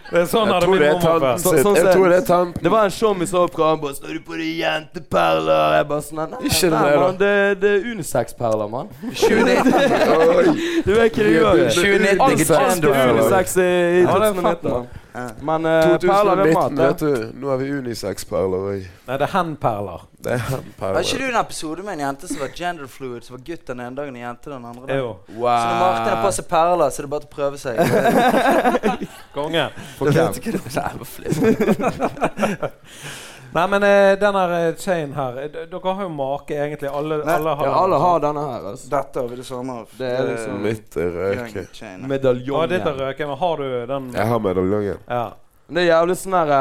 C: Det er sånn
F: Jeg
C: hadde
F: tror
C: min
F: det er
C: mormor
F: tanten
C: før.
E: Så-
F: sin.
E: sånn
F: Jeg
E: ser-
F: tror det er tanten.
E: Det var en showmis over på han bare 'Står du på de jenteperler?' Jeg bare sånn Nei,
F: Ikke det,
E: nei,
F: da.
E: mann, det, det er unisex-perler, mann.
D: 2019.
F: Oi.
E: Du vet ikke det
F: Ja,
E: gjør.
F: det-
E: det.
D: 2019,
E: Alt
D: ikke
E: alt er
F: gender.
E: unisex i i
C: Ja, det er fett,
E: 2019.
D: Ja.
E: Men eh, perler er
F: 2019,
E: mat. ja.
F: vet du. Nå har vi unisex-perler òg.
C: Nei, det er hen-perler.
F: Det er han
D: Har ikke
F: perler.
D: du en episode med en jente som var gender fluid, som var gutt den ene dagen og jente den andre?
C: Er
D: dagen?
C: jo
E: Wow.
D: Så når Martin har på seg perler, så er det bare til å prøve seg.
C: konge.
E: For hvem?
C: Nei, men eh, den her eh, chainen her eh, d- Dere har jo make, egentlig. Alle,
D: Nei,
C: alle har
E: Ja, alle har denne her, altså.
D: Dette har vi det samme av.
E: Det er liksom-
F: Mitt er røke.
D: Gang-chain.
C: Ja,
E: Medaljongen.
C: ditt er røken, men har du den?
F: Jeg har medaljongen.
C: Ja.
E: Det er jævlig sånn her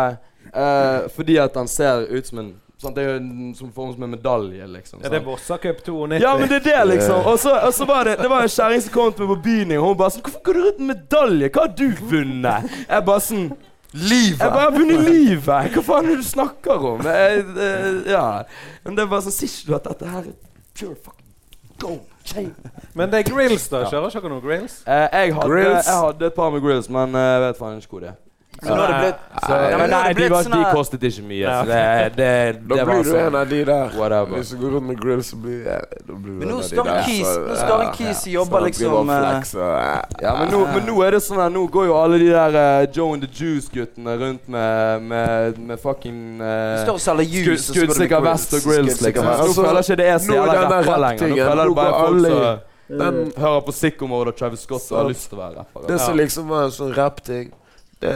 E: eh, Fordi at han ser ut som en sant? Det er jo en som form som en medalje, liksom.
C: Er det
E: sant?
C: Vossacup 92?
E: Ja, men det er det, liksom. Og så, og så var det Det var en kjerring som kom til meg på byen, og hun bare sånn 'Hvorfor går du rundt med medalje? Hva har du vunnet?' Jeg bare sånn Livet! Jeg bare har vunnet livet! Hva faen er det du snakker om? Jeg, eh, ja. Men det er bare sånn Sier ikke du at dette her er pure fucking gold? Chain.
C: Men det er grills, da. Kjører ikke dere noen grills?
E: Eh, jeg, hadde,
F: Grills.
E: jeg hadde et par med grills, men eh, jeg vet faen ikke hvor det er.
D: Men nå har det blitt
E: Så,
D: Nei,
E: nei,
D: men nå har det
E: de,
D: blitt
E: var,
D: sånn
E: de
D: her-
E: kostet ikke mye.
C: Nei,
E: Så det, det,
F: Da
E: det var
F: blir du en
E: sånn
F: av de der.
E: Whatever.
F: Hvis du går rundt med grill, så blir ja, da blir du
D: Men
F: en
D: nå
F: av de
D: står
F: der,
D: en kis
F: så-
D: Nå står en
F: ja.
D: kis som
F: Så
D: jobber
F: han driver
D: liksom
F: og
D: eh,
F: flexer, ja.
E: Ja, men nå, men nå er det sånn her Nå går jo alle de der eh, Joe and the Juice-guttene rundt med, med, med fucking
D: Du
E: eh,
D: står og selger
E: sku-
D: juice, og så går du
E: Skuddsikker
D: med
E: vest og
D: grills.
E: grills,
F: Skuddsikker
E: liksom.
F: vest.
E: Nå føler jeg ikke det er så
F: Nå er
E: jævla
F: den der
E: rapper lenger. Nå
F: rappingen,
E: føler
F: nå
E: det bare
F: går
E: folk
F: alle i-
E: som
F: Den,
E: hører på Sycamore og Travis Scott og har lyst til å være rappere.
F: det som liksom var en sånn rap-ting Det,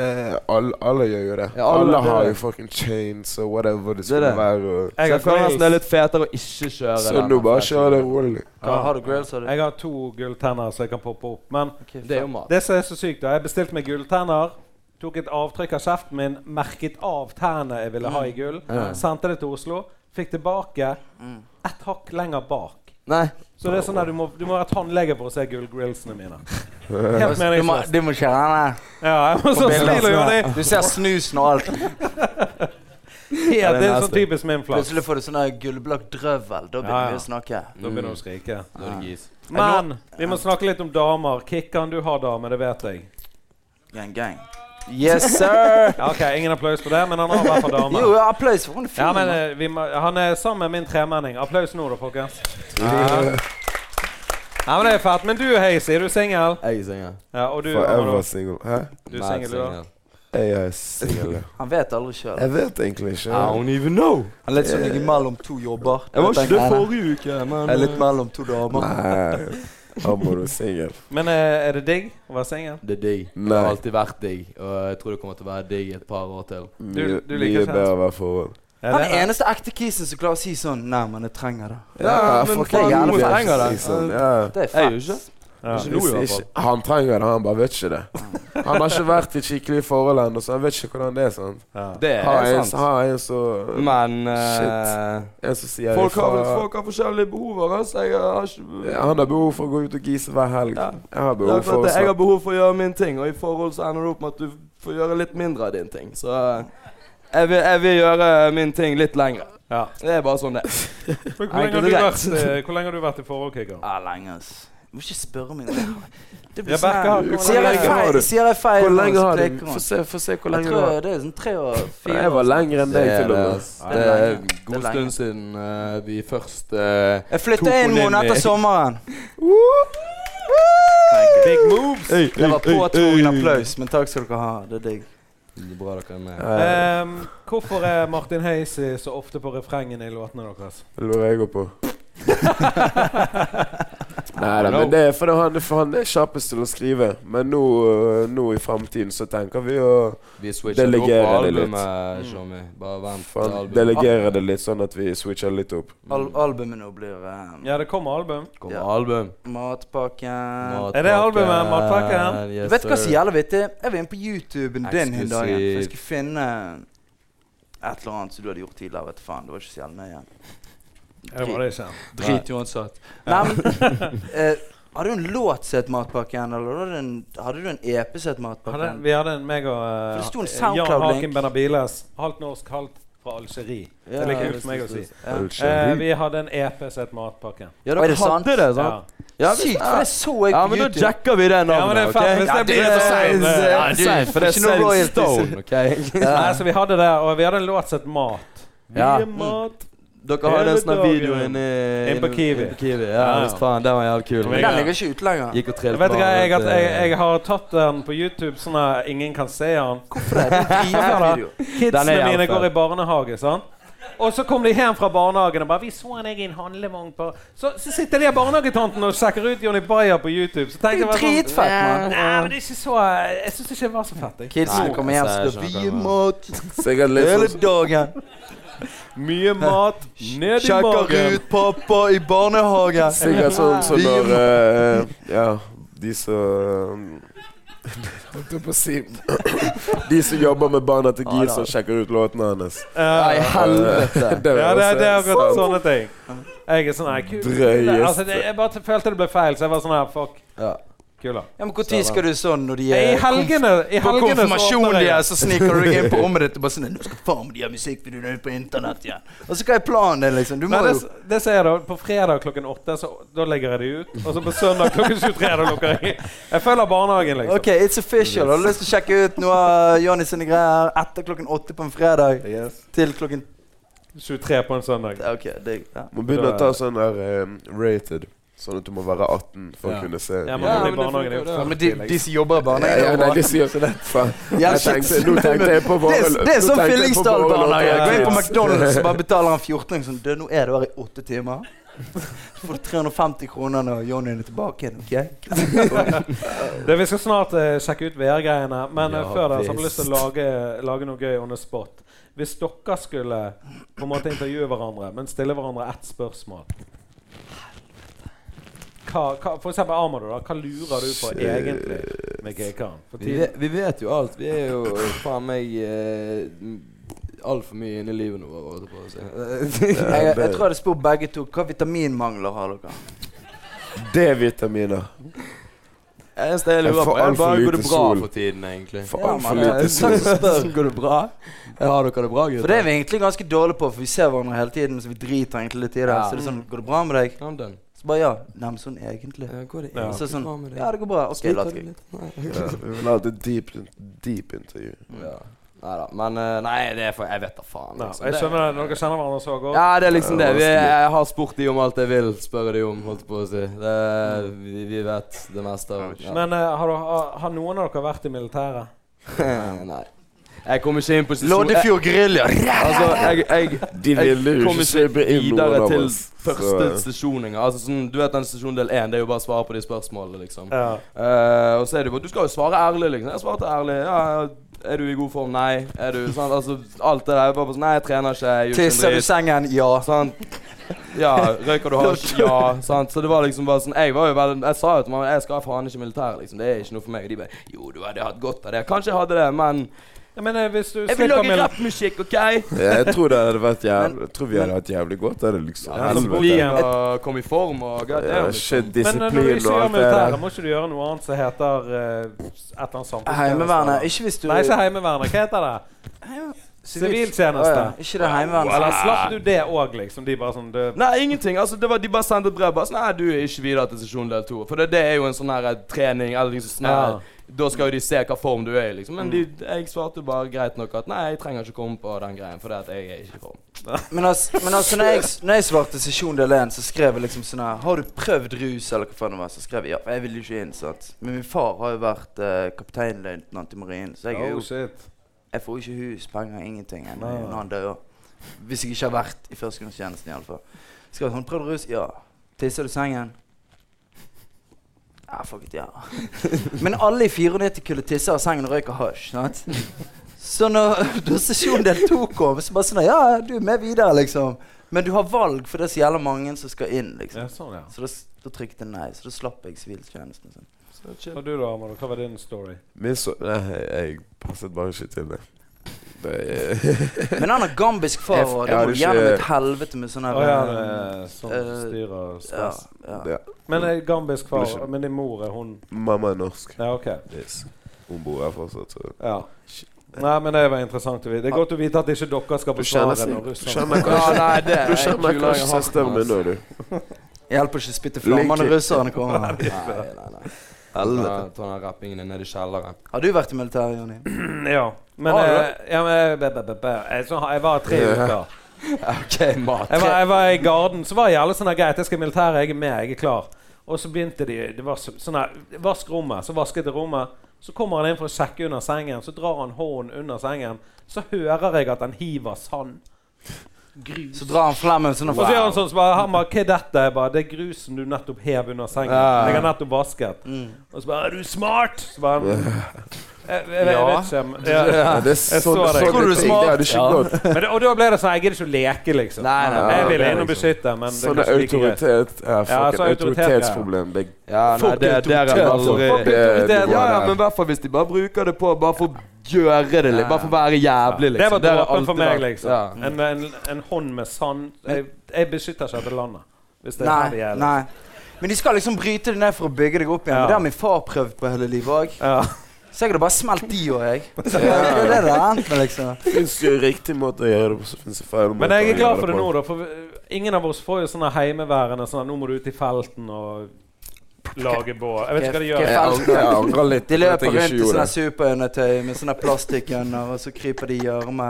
F: alle, alle gjør jo det.
E: Ja, alle-
F: alle
E: det er
F: har jo
E: det.
F: fucking chains og whatever det
E: Det er
F: skulle
E: det.
F: være. Og,
E: Jeg kan nesten det er litt fetere å ikke kjøre
F: så nå bare kjør det rolig.
D: Hva har du grills? Har du?
C: Jeg har to gulltenner som jeg kan poppe opp. Men
D: Ok,
E: Det er jo mat.
C: det som er så sykt, da Jeg bestilte meg gulltenner. Tok et avtrykk av kjeften min, merket av tærne jeg ville ha
E: Mm.
C: i gull. Sendte det til Oslo. Fikk tilbake
E: Mm.
C: ett hakk lenger bak.
E: Nei.
C: Så det er sånn at du må, du må være tannlege for å se gullgrillsene mine.
D: faen.
C: Helt
D: Du må,
C: meningsløst.
D: du må kjøre den der.
C: Ja, jeg må så smil og gjøre det.
D: Du ser snusen og alt.
C: Ja, det er
E: nasty.
C: sånn typisk min flaks.
D: Plutselig får du sånn der gullblakk drøvel. Da
C: Ja, ja.
D: begynner vi å snakke.
C: Da begynner du å skrike.
E: Nå er det gis.
C: Men vi må snakke litt om damer. Kikkan, du har dame, det vet jeg.
D: Gang, gang. Yes, sir!
C: Ja, ok, Ingen applaus for det, men han har i hvert fall dame.
D: Jo, applaus for hun er fin.
C: Ja, men
D: mann.
C: eh, vi må, Han er sammen med min tremenning. Applaus nå, da, folkens. Ja, men Det er fett. Men du, Hazy, er du singel?
E: Jeg er singel.
C: Ja, og du,
F: Forever
C: Amado,
F: single. Hæ?
C: du er singel, du da?
F: Jeg er singel. ja.
D: Han vet aldri sjøl.
F: Jeg vet egentlig ikke.
E: even know.
D: Han er litt sånn ligger mellom to jobber.
E: Jeg var ikke det
D: Nei, nei.
E: forrige uke, men
D: Jeg er litt mellom to damer.
F: Nei. Amor er singel.
C: Men eh, er det digg å være singel?
E: Det er digg. Det
F: Mm. Nei.
E: har alltid vært digg, og jeg tror det kommer til å være digg et par år til.
F: Mye,
C: du liker
F: mye
C: ikke
F: bedre hver forhold.
C: Er
D: Han
C: det-
D: er eneste ekte kisen som klarer å si sånn Nei, men jeg trenger det.
E: Ja, men
F: fucking
D: faen, noen
F: idiot,
E: trenger det.
F: liksom. Ja.
D: Det er
E: Jeg gjør
D: fett.
E: ikke
C: Ja.
E: Ikke nå, i hvert
F: Hvis
E: fall.
F: ikke- Han trenger det, han bare vet ikke det. Han har ikke vært i et skikkelig forhold ennå, så han vet ikke hvordan det er. sant?
E: Det
F: Har
E: er
F: en,
E: sant.
F: har en, så,
E: Men
F: Shit.
E: eh,
F: en som sier
E: folk, har,
F: ifra.
E: folk har forskjellige behover, altså. Jeg har ikke
F: Ja, Han har behov for å gå ut og gise hver helg.
E: Ja.
F: Jeg har
E: Det er
F: behov for
E: akkurat
F: å
E: det. Jeg har
F: snakke.
E: behov for å gjøre min ting, og i forhold så ender det opp med at du får gjøre litt mindre av din ting. Så eh, jeg vil, jeg vil gjøre min ting litt lengre.
C: Ja.
E: Det er bare sånn det er.
C: Men Hvor lenge har du
E: Enkelt og
C: vært, eh, hvor lenge har du vært i forhold, Kikkan?
D: Ja, lenge, ass. Du må ikke spørre meg om det. det. blir
C: Rebecca,
D: sånn her-
F: hvor
D: Sier jeg
F: lenge har
D: feil,
F: du?
D: sier jeg feil
F: Hvor
D: nå,
F: lenge
D: så
F: har
D: klikker
F: du?
D: hun.
F: Få se, få se
D: Jeg
F: hvor lenge du har.
D: tror det er sånn tre og fire
F: Jeg var lenger enn
E: Det
F: deg,
E: er
F: til og
E: det,
F: med.
E: ass.
D: Ja,
E: Det
D: det er
E: er
D: lenge. Det er
E: god
D: lenge.
E: stund siden eh, vi først eh,
D: Jeg
E: To
D: flytta en
E: kolonner.
D: måned etter sommeren.
C: Big moves!
D: Det var påtvungen applaus, men takk skal dere ha. Det er digg.
E: Bra dere er med.
F: Eh,
C: Ehm, hvorfor er Martin Hazy så ofte på refrengene i låtene deres?
F: Det lurer jeg òg på. Nei da, men det er fordi han, for han er kjappest til å skrive. Men nå, øh, nå i fremtiden så tenker vi å
E: Vi switcher opp
F: Delegerer
E: på
F: det litt.
E: albumet, Shommy. Bare vent til
F: faen,
E: albumet
F: delegere det litt, sånn at vi switcher litt opp.
D: Al albumet nå blir eh,
C: Ja, det kommer album.
E: kommer.
D: Ja. Eh,
E: Album.
D: Matpakken
E: Matpakken.
C: det albumet, Matpakken?
E: Yes,
D: Du vet hva
E: sir.
D: som er jævlig vittig? Jeg var inne på YouTuben din den dagen. For jeg
E: Eksklusivt.
D: skulle finne et eller annet som du hadde gjort tidligere. Vet du faen, det var ikke så jævlig nøye.
C: Det var det ikke.
D: Drit uansett. Nei, men eh, Hadde du en låt som het Matpakken, eller hadde du en, hadde du en EP som
C: Hadde,
D: het Matpakken?
C: vi hadde en meg og
D: For det sto en
C: eh, Jan
D: SoundCloud-link.
C: Haken Benabiles. Halvt norsk, halvt fra Algerie.
E: Ja,
C: det er like kult
E: visst,
C: for meg å si.
E: visst,
D: Ja.
C: Eh, vi hadde en EP som het Matpakken.
E: Ja,
D: Oi,
E: dere
D: det er sant.
E: hadde det, sant?
C: Ja.
E: Ja, vi-
D: Sykt, for det så jeg
E: Ja,
D: på
E: men da
D: YouTube.
E: jacker vi det
C: Ja, men det er
E: navnet,
C: faen, hvis det
E: det
C: blir så seint, det-
E: er
D: Ja, du
E: safe, for det
D: får
E: er
D: ikke noe
E: Save
D: royalties.
E: Stone, OK?
C: Nei, så vi hadde det, og vi hadde en låt som het Mat.
E: Ja.
C: Mye mat.
E: Dere har
C: Hele
E: den sånne
C: dagen.
E: videoen i-
C: Inn på Kiwi.
E: Inn på Kiwi,
C: Ja.
E: Ja, visst faen, den var jævlig kul.
C: Men
D: Men den ligger ikke ute lenger.
E: Gikk og trillet
C: Vet du hva, jeg,
E: barnet,
C: at jeg,
E: eh,
C: jeg har tatt den på YouTube sånn at ingen kan se den.
D: Hvorfor det? Det er en
C: Ja,
D: video.
C: Kidsene
E: jævlig
C: mine
E: fet.
C: går i barnehage, sant. Og så kom de hjem fra barnehagen og bare 'Vi så deg i en handlevogn på Så, så sitter de her barnehagetantene og sjekker ut Johnny Bayer på YouTube. Så tenkte jeg bare sånn
D: Dritfett,
C: Nei,
D: mann.
C: men det er ikke så Jeg syns ikke det var så fett. Jeg.
D: Kidsene
E: Nei,
D: kommer hjem
E: altså,
D: og
E: jeg
D: skal
E: skjønner
D: vie
E: hva du
D: mat
F: Sikkert
D: hele
F: litt sånn
D: dagen.
C: Mye mat ned i
D: Sjekker
C: magen.
D: ut pappa i barnehagen.
F: Sikkert sånn som når eh, Ja, de som Holdt jeg på å si De som jobber med barna til Gil, som sjekker ut låtene hans.
C: Eh,
F: helvete. det
C: ja, det, det er
F: var
C: akkurat sånne ting. Jeg er sånn Nei, kul.
F: Drøyeste.
C: Nei, Altså, det, jeg bare t- følte det ble feil, så jeg var sånn her Fuck.
E: Ja.
C: Kula.
D: Ja, men Når skal du sånn når de
C: I
D: er
C: helgene I helgene
D: på
C: så
D: konfirmasjon,
C: åpner
D: de er,
C: jeg.
D: så sniker du deg inn på rommet ditt og bare sånn Nå skal faen meg de ha musikkvideoene ut på internett igjen. Og så hva er planen din, liksom? Du må
C: Nei, det,
D: jo
C: s- det ser jeg da. På fredag klokken åtte, så da legger jeg det ut. Og så på søndag klokken 23, da lukker jeg Jeg følger barnehagen, liksom.
D: Ok, it's official. Har du lyst til å sjekke ut noe av Johnny sine greier etter klokken åtte på en fredag
C: sånn.
D: til klokken
C: 23 på en søndag.
D: Ja, Ok, digg. Ja.
F: Må begynne å ta sånn der eh, rated. Sånn at du må være 18 for
E: Ja.
F: å kunne se.
A: Ja,
E: Ja,
A: men
E: men det
A: barnehagen er
E: funker,
A: jo
E: det.
D: Men de, de som jobber i
F: Nei, ja,
D: barnehagen
F: nei,
D: er
F: de
D: bra.
F: sier så lett, faen.
D: Ja,
F: Jeg
D: shit.
F: tenkte, nå tenkte jeg på
D: Det
F: våre
D: er, det er sånn
F: nå tenkte jeg på
D: Fyllingsdal
F: våre
D: barnehage.
F: lokale
D: Gå inn på
F: kids.
D: McDonald's og bare betaler han 14 sånn, du, 'Nå er du her i åtte timer.' Så får du 350 kroner når Johnny er tilbake igjen. ok?
C: Det, vi skal snart eh, sjekke ut VR-greiene, men eh,
E: Ja,
C: før det så har vi
E: visst.
C: lyst til å lage, lage noe gøy on the spot. Hvis dere skulle på en måte intervjue hverandre, men stille hverandre ett spørsmål hva, hva, For eksempel Amado, da. Hva lurer du på egentlig med GK-en? For
E: Vi,
C: tiden-
E: ve- vi vet jo alt. Vi er jo faen meg eh, altfor mye inne i livet nå. holdt jeg på å si.
D: Jeg, jeg tror jeg hadde spurt begge to hva vitaminmangler har dere.
F: D-vitaminer.
E: Eneste jeg lurer
F: Jeg får
E: på, er
F: alt for
E: bare går det
F: lite
E: bra
F: sol.
E: for tiden, egentlig.
F: For
D: Ja,
F: altfor
D: men, eh,
F: lite
D: takk
F: sol.
D: for spørsmålet.
E: Går det bra? Ja, Har dere det bra, gutter?
D: For det er vi egentlig ganske dårlige på, for vi ser hverandre hele tiden. Så vi driter egentlig litt i det.
E: Ja.
D: Så det er sånn 'Går det bra med deg?'
E: Ja, men den.
D: Så bare ja. Nei, men sånn egentlig.
E: Ja, går det
C: Ja.
D: Og så er
E: egentlig
D: det sånn
E: bra med deg?
D: Ja, det går bra. Ok, la oss gå.
F: Ja, vi vil ha et deep, deep intervju.
E: Ja. Nei da. Men eh, Nei, det er for Jeg vet da faen.
C: Nei,
E: liksom.
C: jeg
E: Det-
C: skjønner det. Dere kjenner hverandre så godt.
E: Ja, det er liksom
F: Ja,
E: det. Vi,
F: vanskelig.
E: jeg har spurt de om alt jeg vil spørre de om, holdt jeg på å si. Det, vi, vi vet det meste av ja.
C: Men eh, har, dere- har, har noen av dere vært i militæret?
E: Nei. Jeg kom ikke inn på sesong jeg,
D: Loddefjord Grilja.
E: Altså, jeg, jeg,
F: De ville
E: jeg
F: jo
E: kom
F: ikke
E: ikke
F: slippe inn noen
E: videre
F: av
E: til
F: oss.
E: første
F: så-
E: sesjon engang. Altså, sånn, du vet den sesjon del én, det er jo bare å svare på de spørsmålene, liksom.
C: Ja.
E: Eh, og så er det jo bare Du skal jo svare ærlig, liksom. Jeg svarte ærlig. Ja, er du i god form? Nei. Er du sånn Altså, alt det der. Jeg Bare på sånn Nei, jeg trener ikke. Jeg gjør ikke en
D: Tisser du i
E: dritt.
D: sengen? Ja.
E: Sant? Ja, røyker du hasj? Ja. sant? Så det var liksom bare sånn Jeg var jo veldig Jeg sa jo til mamma jeg skal faen ikke i militæret, liksom. Det er ikke noe for meg. Og de bare Jo, du hadde hatt godt av det. Kanskje jeg hadde det, men
C: Ja, men eh, hvis du
E: Jeg vil
C: slipper
E: lage
C: mil
E: rappmusikk, OK?
F: Ja, jeg tror det hadde vært jævlig Jeg tror vi hadde hatt jævlig godt av det, liksom.
E: Ja, så
F: Helvete.
E: bli en og komme i form og god
F: Ja,
E: damn.
F: shit,
C: Men eh, når du
F: disiplin
C: ikke
F: og
C: gjør
F: alt det der.
C: militæret, må ikke du gjøre noe annet som heter eh, et eller annet samfunn?
D: Heimevernet. Ikke hvis du
C: Nei, ikke Heimevernet. Hva heter det?
D: Å
C: Siviltjeneste.
D: ja, Ikke det heimevernet.
C: Eller slapp du det òg, liksom? De bare sånn det,
E: Nei, ingenting. altså det var, De bare sendte et brev. bare sånn, Nei, du er ikke videre til sesjon del to. For det, det er jo en sånn her eh, trening. eller liksom sånn her, Da skal jo de se hva form du er i, liksom. Men de, jeg svarte jo bare greit nok at nei, jeg trenger ikke komme på den greien, for det at jeg er ikke i form.
D: Men altså, men altså når, jeg, når jeg svarte sesjon del 1, så skrev jeg liksom sånn her Har du prøvd rus, eller hva faen det var? Så skrev jeg ja, for jeg ville jo ikke inn, sant. Men min far har jo vært uh, kapteinløytnant i marinen, så jeg, er
C: Oh,
D: jo,
C: shit.
D: jeg får jo ikke hus, penger, ingenting ennå
C: Nei, nei.
D: når han dør. Hvis jeg ikke har vært i førstegangstjenesten, iallfall. Skrev jeg, sånn, har du prøvd rus? Ja. Tisser du i sengen? Ja, fuck it, ja. Men alle i 94-kullet tisser av sengen og røyker hasj. sant? Så når, da sesjon del to kom, så bare sånn Ja, du er med videre, liksom. Men du har valg, for det er så jævla mange som skal inn. liksom.
C: Ja, sånn, ja.
D: Så da, s- da trykket jeg nei, så da slapp jeg siviltjenesten. Sånn.
E: Så chill.
C: Og du da, Amado? Hva var din story?
F: Min så Nei, jeg passet bare ikke til det. Det er
D: Men han har gambisk far,
F: Jeg f-
D: og
F: jeg
D: det
F: har
D: må
F: ikke-
D: gjennom et helvete med sånn
C: Å
D: her
C: ja,
D: eh,
C: det er sånn
D: eh,
C: styr og
D: ja,
C: stress.
D: ja.
F: det.
C: Men eh, gambisk far
F: Unnskyld.
C: Men din mor er hun
F: Mamma er norsk.
C: Ja, OK.
F: Yes. Hun bor her fortsatt, så
C: Ja. Nei, men det var interessant å vite. Det er godt å vite at ikke dere skal
F: Du kjenner
C: forsvare når
F: seg- du
C: russerne
F: kjenner
E: Ja,
F: kanskje
E: nei, det er
F: Du kjenner
E: kulere
F: kanskje
E: enn hatten,
F: søsteren min
E: altså.
F: nå, du.
D: Hjelper ikke å spytte flammer når
F: Ligger-
D: russerne kommer.
E: Nei, nei, nei. Ta
F: Helvete.
E: ta den rappingen din ned i kjelleren.
D: Har du vært i militæret, Jonny?
C: Ja. Men,
E: Har du
C: eh, ja, men be, be, be, be. Jeg, så, jeg var tre
F: Ja.
C: uker.
E: OK, mat.
C: Jeg var, jeg var i garden, så var jeg alle sånn her, greit, jeg skal i militæret, jeg er med, jeg er klar. Og så begynte de det var så, sånn her, Vask rommet. Så vasket jeg rommet. Så kommer han inn for å sjekke under sengen. Så drar han hånden under sengen. Så hører jeg at han hiver sand.
D: Så drar han flemmen sånn
C: Og så gjør han sånn så bare, han bare, Hva er dette? Jeg bare, det er grusen du nettopp hev under sengen.
E: Ja.
C: Jeg har nettopp vasket.
E: Mm.
C: Og så bare Er du smart? Så bare jeg, jeg, jeg, jeg
E: Ja.
C: vet ikke. Ja.
F: Ja, det
C: Jeg
F: er
C: så
F: sånn,
C: det.
F: sånn
E: Tror du
F: ting. Det hadde ikke
E: smak?
F: gått.
C: Men det, og da ble det sånn Jeg gidder ikke å leke, liksom.
E: Nei, nei, nei,
C: jeg
F: det
C: ville
F: er
C: inn og beskytte, men det er
F: Sånn
C: kanskje like greit.
F: autoritet ja,
C: Ja,
F: fuck,
C: sånn
F: Autoritetsproblem. Det
E: Ja, nei,
F: Fuck
E: det, det er
F: autoritet, altså.
E: aldri
F: Fuck autoritet.
E: Ja, ja, men i hvert fall hvis de bare bruker det på Bare for å gjøre det litt. Bare for å være jævlig, liksom.
C: Det var
E: har
C: dråpen
E: alltid
C: for meg,
E: vært-
C: liksom.
E: Ja.
C: En, en, en hånd med sand. Jeg, jeg beskytter ikke dette landet. Hvis det er her det
D: Nei,
C: gjelder.
D: nei. Men de skal liksom bryte det ned for å bygge deg opp igjen.
C: Ja.
D: Men Det har min far prøvd på hele livet òg.
C: Ja.
D: Så jeg hadde bare smelt de òg, jeg. Så det er det det endte med, liksom.
F: fins jo riktig måte å gjøre det på, så fins det feil måte.
C: Men jeg
F: å
C: er glad
F: gjøre
C: for det nå,
F: på.
C: da. For vi- ingen av oss får jo sånne heimeværende sånn at nå må du ut i felten og lage bål. Jeg vet ikke hva de gjør.
F: Jeg angrer- jeg angrer litt.
D: De
F: på at
D: løper
F: jeg
D: rundt
F: ikke
D: i
F: gjorde
D: sånne
F: det.
D: superundertøy med sånne plastikkønner, og så kryper de i gjørme.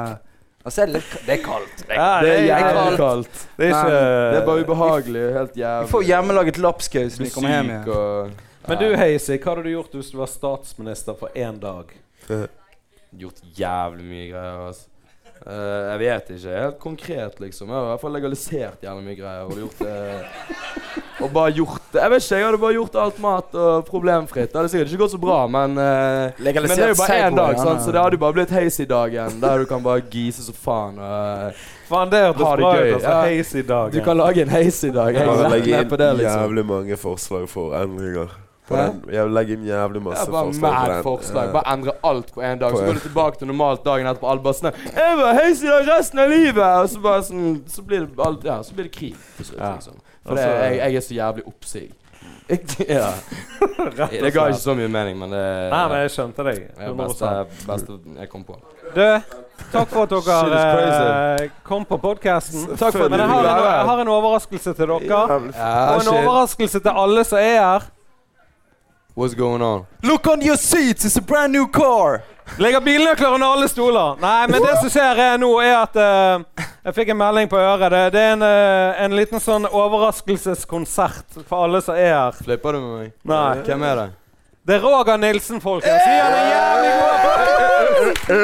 D: Og så er Altså, det litt ka- Det er kaldt. Det er
E: Ja,
D: det er
E: jævlig
D: kaldt.
E: kaldt.
F: Det er ikke
E: Det er bare ubehagelig. Helt jævlig.
D: Vi får hjemmelaget lapskaus
E: Du
D: når
E: er
D: vi kommer hjem
E: syk
D: igjen.
E: og
C: Men du Heisi, hva hadde du gjort hvis du var statsminister for én dag?
E: gjort jævlig mye greier. Altså. Eh, jeg vet ikke helt konkret, liksom. Jeg har i hvert fall legalisert jævlig mye greier. Og gjort det Og bare gjort det. Jeg vet ikke, jeg hadde bare gjort alt mat og problemfritt. Det hadde sikkert ikke gått så bra, men eh, Men det er jo bare én dag, sant? så det hadde jo bare blitt heis i dagen. Der du kan bare gise så faen. Og,
C: Faen, det hørtes
E: Ha det
C: bra ut.
E: gøy.
C: Altså,
E: Ja.
C: Heisi dagen.
E: du kan lage en heis i dag. Jeg
F: Bare
E: er
F: legge
E: ned
F: inn
E: på det, liksom.
F: jævlig mange forslag for endringer. På
E: Hæ?
F: den. Jeg legger inn jævlig
E: Det
F: masse
E: er bare
F: forslag. på
E: mad
F: den.
E: forslag.
F: Ja.
E: Bare endre alt på en dag. Så
F: På-
E: går du tilbake til normalt dagen etterpå. Alle bare sånn Jeg var heis i dag resten av livet! Og så bare sånn Så blir det alt Ja, så blir det krig til slutt,
C: Ja.
E: liksom. For det,
C: Altså-
E: jeg, jeg er så jævlig oppsig. ja. Det ga ikke så mye mening, men det
C: Nei, men jeg skjønte deg.
E: det er det beste, beste jeg kom på.
C: Du, takk for at
E: Shit
C: dere
E: is
C: eh,
E: crazy.
C: kom på podkasten.
E: Takk for at
C: Men
E: du
C: jeg har,
E: ville
C: en,
E: være her.
C: jeg har en overraskelse til dere.
F: Jævlig f-
E: Ja, Ah,
C: Og en overraskelse til alle som er her.
E: What's going on?
D: Look on your seats, it's a brand new car!
C: Legger bilnøkler under alle stoler. Nei, men det som skjer er nå, er at eh, Jeg fikk en melding på øret. Det, det er en, eh, en liten sånn overraskelseskonsert for alle som er her.
E: Fløyper du med meg?
C: Nei.
E: Hvem er det?
C: Det er Roger Nilsen, folkens. Vi har det jævlig bra!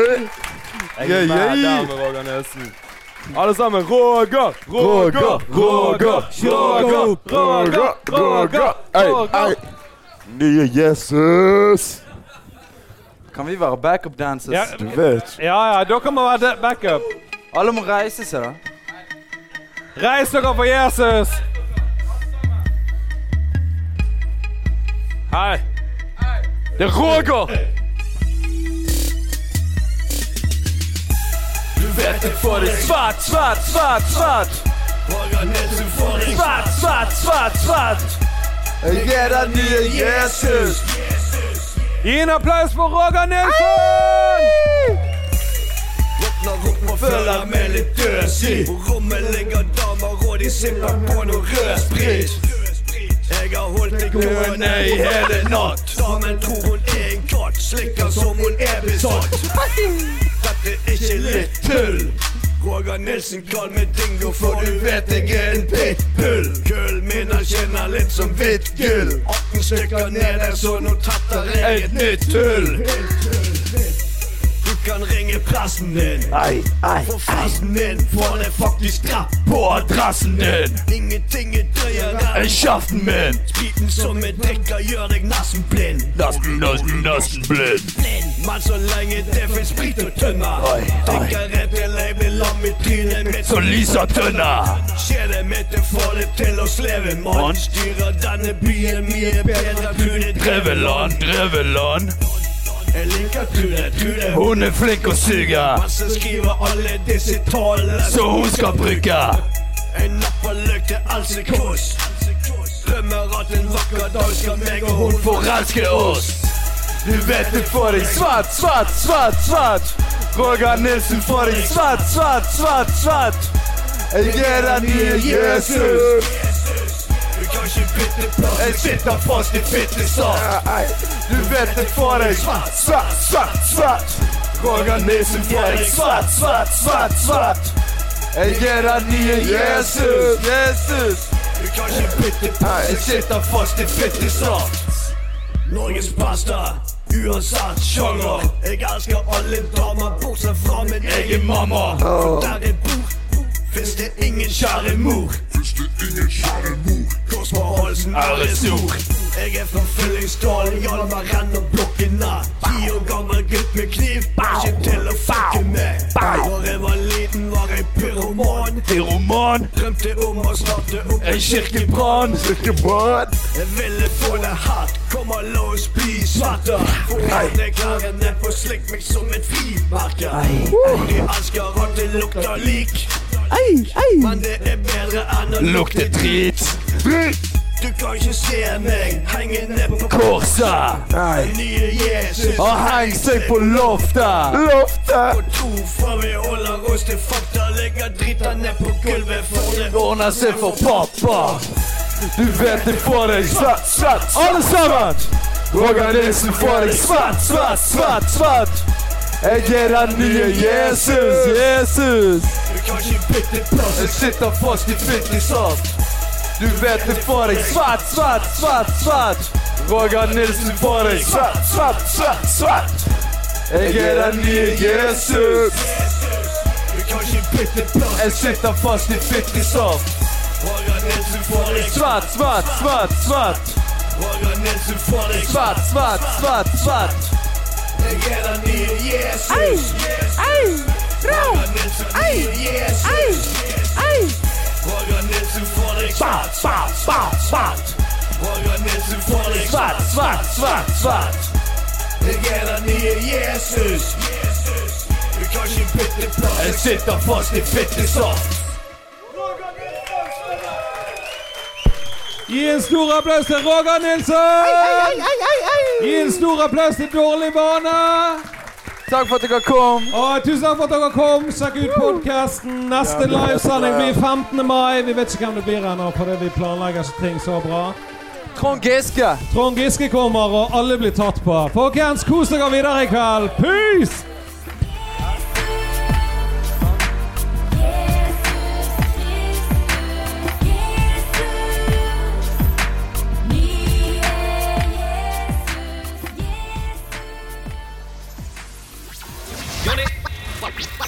E: Jeg er mad down med Roger Nilsen. Alle sammen. Roger! Roger! Roger!
C: Roger! Roger! Roger!
F: Ei,
C: Roger!
F: ei. Nye Jesus!
D: Kan vi være backup dancers?
C: Ja,
F: Du vet.
C: ja, ja, dere må være de- backup.
D: Alle må reise seg, da.
C: Reis dere for Jesus! Hei. Det er Roger!
G: Du vet jeg får det svart,
D: Svart, svart, svart, svart!
G: Roger Nilsen får det
D: Svart, svart, svart, svart! Jeg er den nye Jesus!
C: Gi en applaus for Roger Nilsen!
G: Våkner opp og føler meg litt døs i På rommet ligger damer og de sipper på noe rød sprit Jeg har holdt det gående i hele natt Damen tror hun er en katt Slikker som hun er besatt Dette er ikke litt tull Roger Nilsen kall meg dingo For du vet jeg er en pitbull Kull mine kjenner litt som hvitt gull 18 stykker nede så nå tetter jeg et nytt tull Du kan ringe pressen din For fressen min får det faktisk drept på adressen din Ingenting er drøyere enn kjeften min Spriten som jeg drikker gjør deg nesten blind Nesten, nesten, nesten blind Men så lenge det finnes sprit og tønne Drikker jeg til jeg blir lam i trynet mitt Som lyser tønne Kjedet mitt jeg får det til å sleve, mann Styrer denne byen mye bedre enn Rune Dreveland, Dreveland jeg liker Trude, Trude Hun er flink og suger Men så skriver alle disse tallene Så hun skal bruke En nappaløk til Else Kåss Drømmer at en vakker dag skal meg og hun forelske oss Du vet du får deg svart, svart, svart, svart Roger Nilsen får deg svart, svart, svart, svart Jeg er den nye Jesus Du kan ikke bytte plass Jeg sitter fast i fittesalt du vet det får deg svart, svart, svart, svart. Roger Nilsen får deg svart, svart, svart, svart. Jeg er den nye Jesus, Jesus. Du kan ikke bytte på, jeg sitter fast i fittesalt. Norges beste, uansett sjanger. Jeg elsker alle damer, bortsett fra min egen mamma. For der jeg bor, fins det ingen kjære mor. Kors på halsen er et snor. Jeg er fra Fyllingsdalen, Hjalmar renner blokken av. Ti år gammel gutt med kniv, er ikke til å fucke med. Da jeg var liten, var jeg pyroman. Pyroman Drømte om å starte opp en kirkebrann. Jeg ville få deg hatt, kom og la oss bli svarta. Få alle klærne på, slikk meg som et frimerke. De elsker at det lukter lik. Men det er bedre enn å lukte drit. Du kan ikke se meg hengende på korset. Nye Jesus. Og heng seg på loftet. Loftet! Og tro fra vi holder oss til fakta. Legger drita ned på gulvet for det ordner seg for pappa. Du vet det får deg svart, svart, svart. Alle sammen! Roger Nilsen får deg svart, svart, svart, svart.
F: Jeg er den nye Jesus, Jesus.
G: Du kan ikke bytte plass.
E: Jeg sitter fast i fytti saft. Du vet du får deg svett, svett, svett, svett. Roger Nilsen får deg svett, svett, svett, svett. Jeg er den nye Jesus.
G: Du kan ikke bytte plass.
E: Jeg sitter fast i fytti saft.
G: Roger Nilsen får deg
E: Svett, svett, svett, svett.
G: Roger Nilsen får deg
E: Svett, svett, svett, svett.
G: Jeg er den nye Jesus. Roger Nilsen er den nye Jesus. Roger Nilsen får deg svart, svart, svart, svart. Roger Nilsen får deg svart, svart, svart, svart. Jeg er den nye Jesus. Du kan ikke bytte plass. Jeg sitter fast i fittesaft.
C: Gi en stor applaus til Roger Nilsen! Gi en stor applaus til Dårlig vane!
D: Takk for at dere kom.
C: Og tusen takk for at dere kom. Sjekk ut podkasten. Neste livesending blir 15. mai. Vi vet ikke hvem det blir ennå, fordi vi planlegger ikke ting så bra.
D: Trond Giske.
C: Trond Giske kommer, og alle blir tatt på. Folkens, kos dere videre i kveld. Peace!
H: Johnny.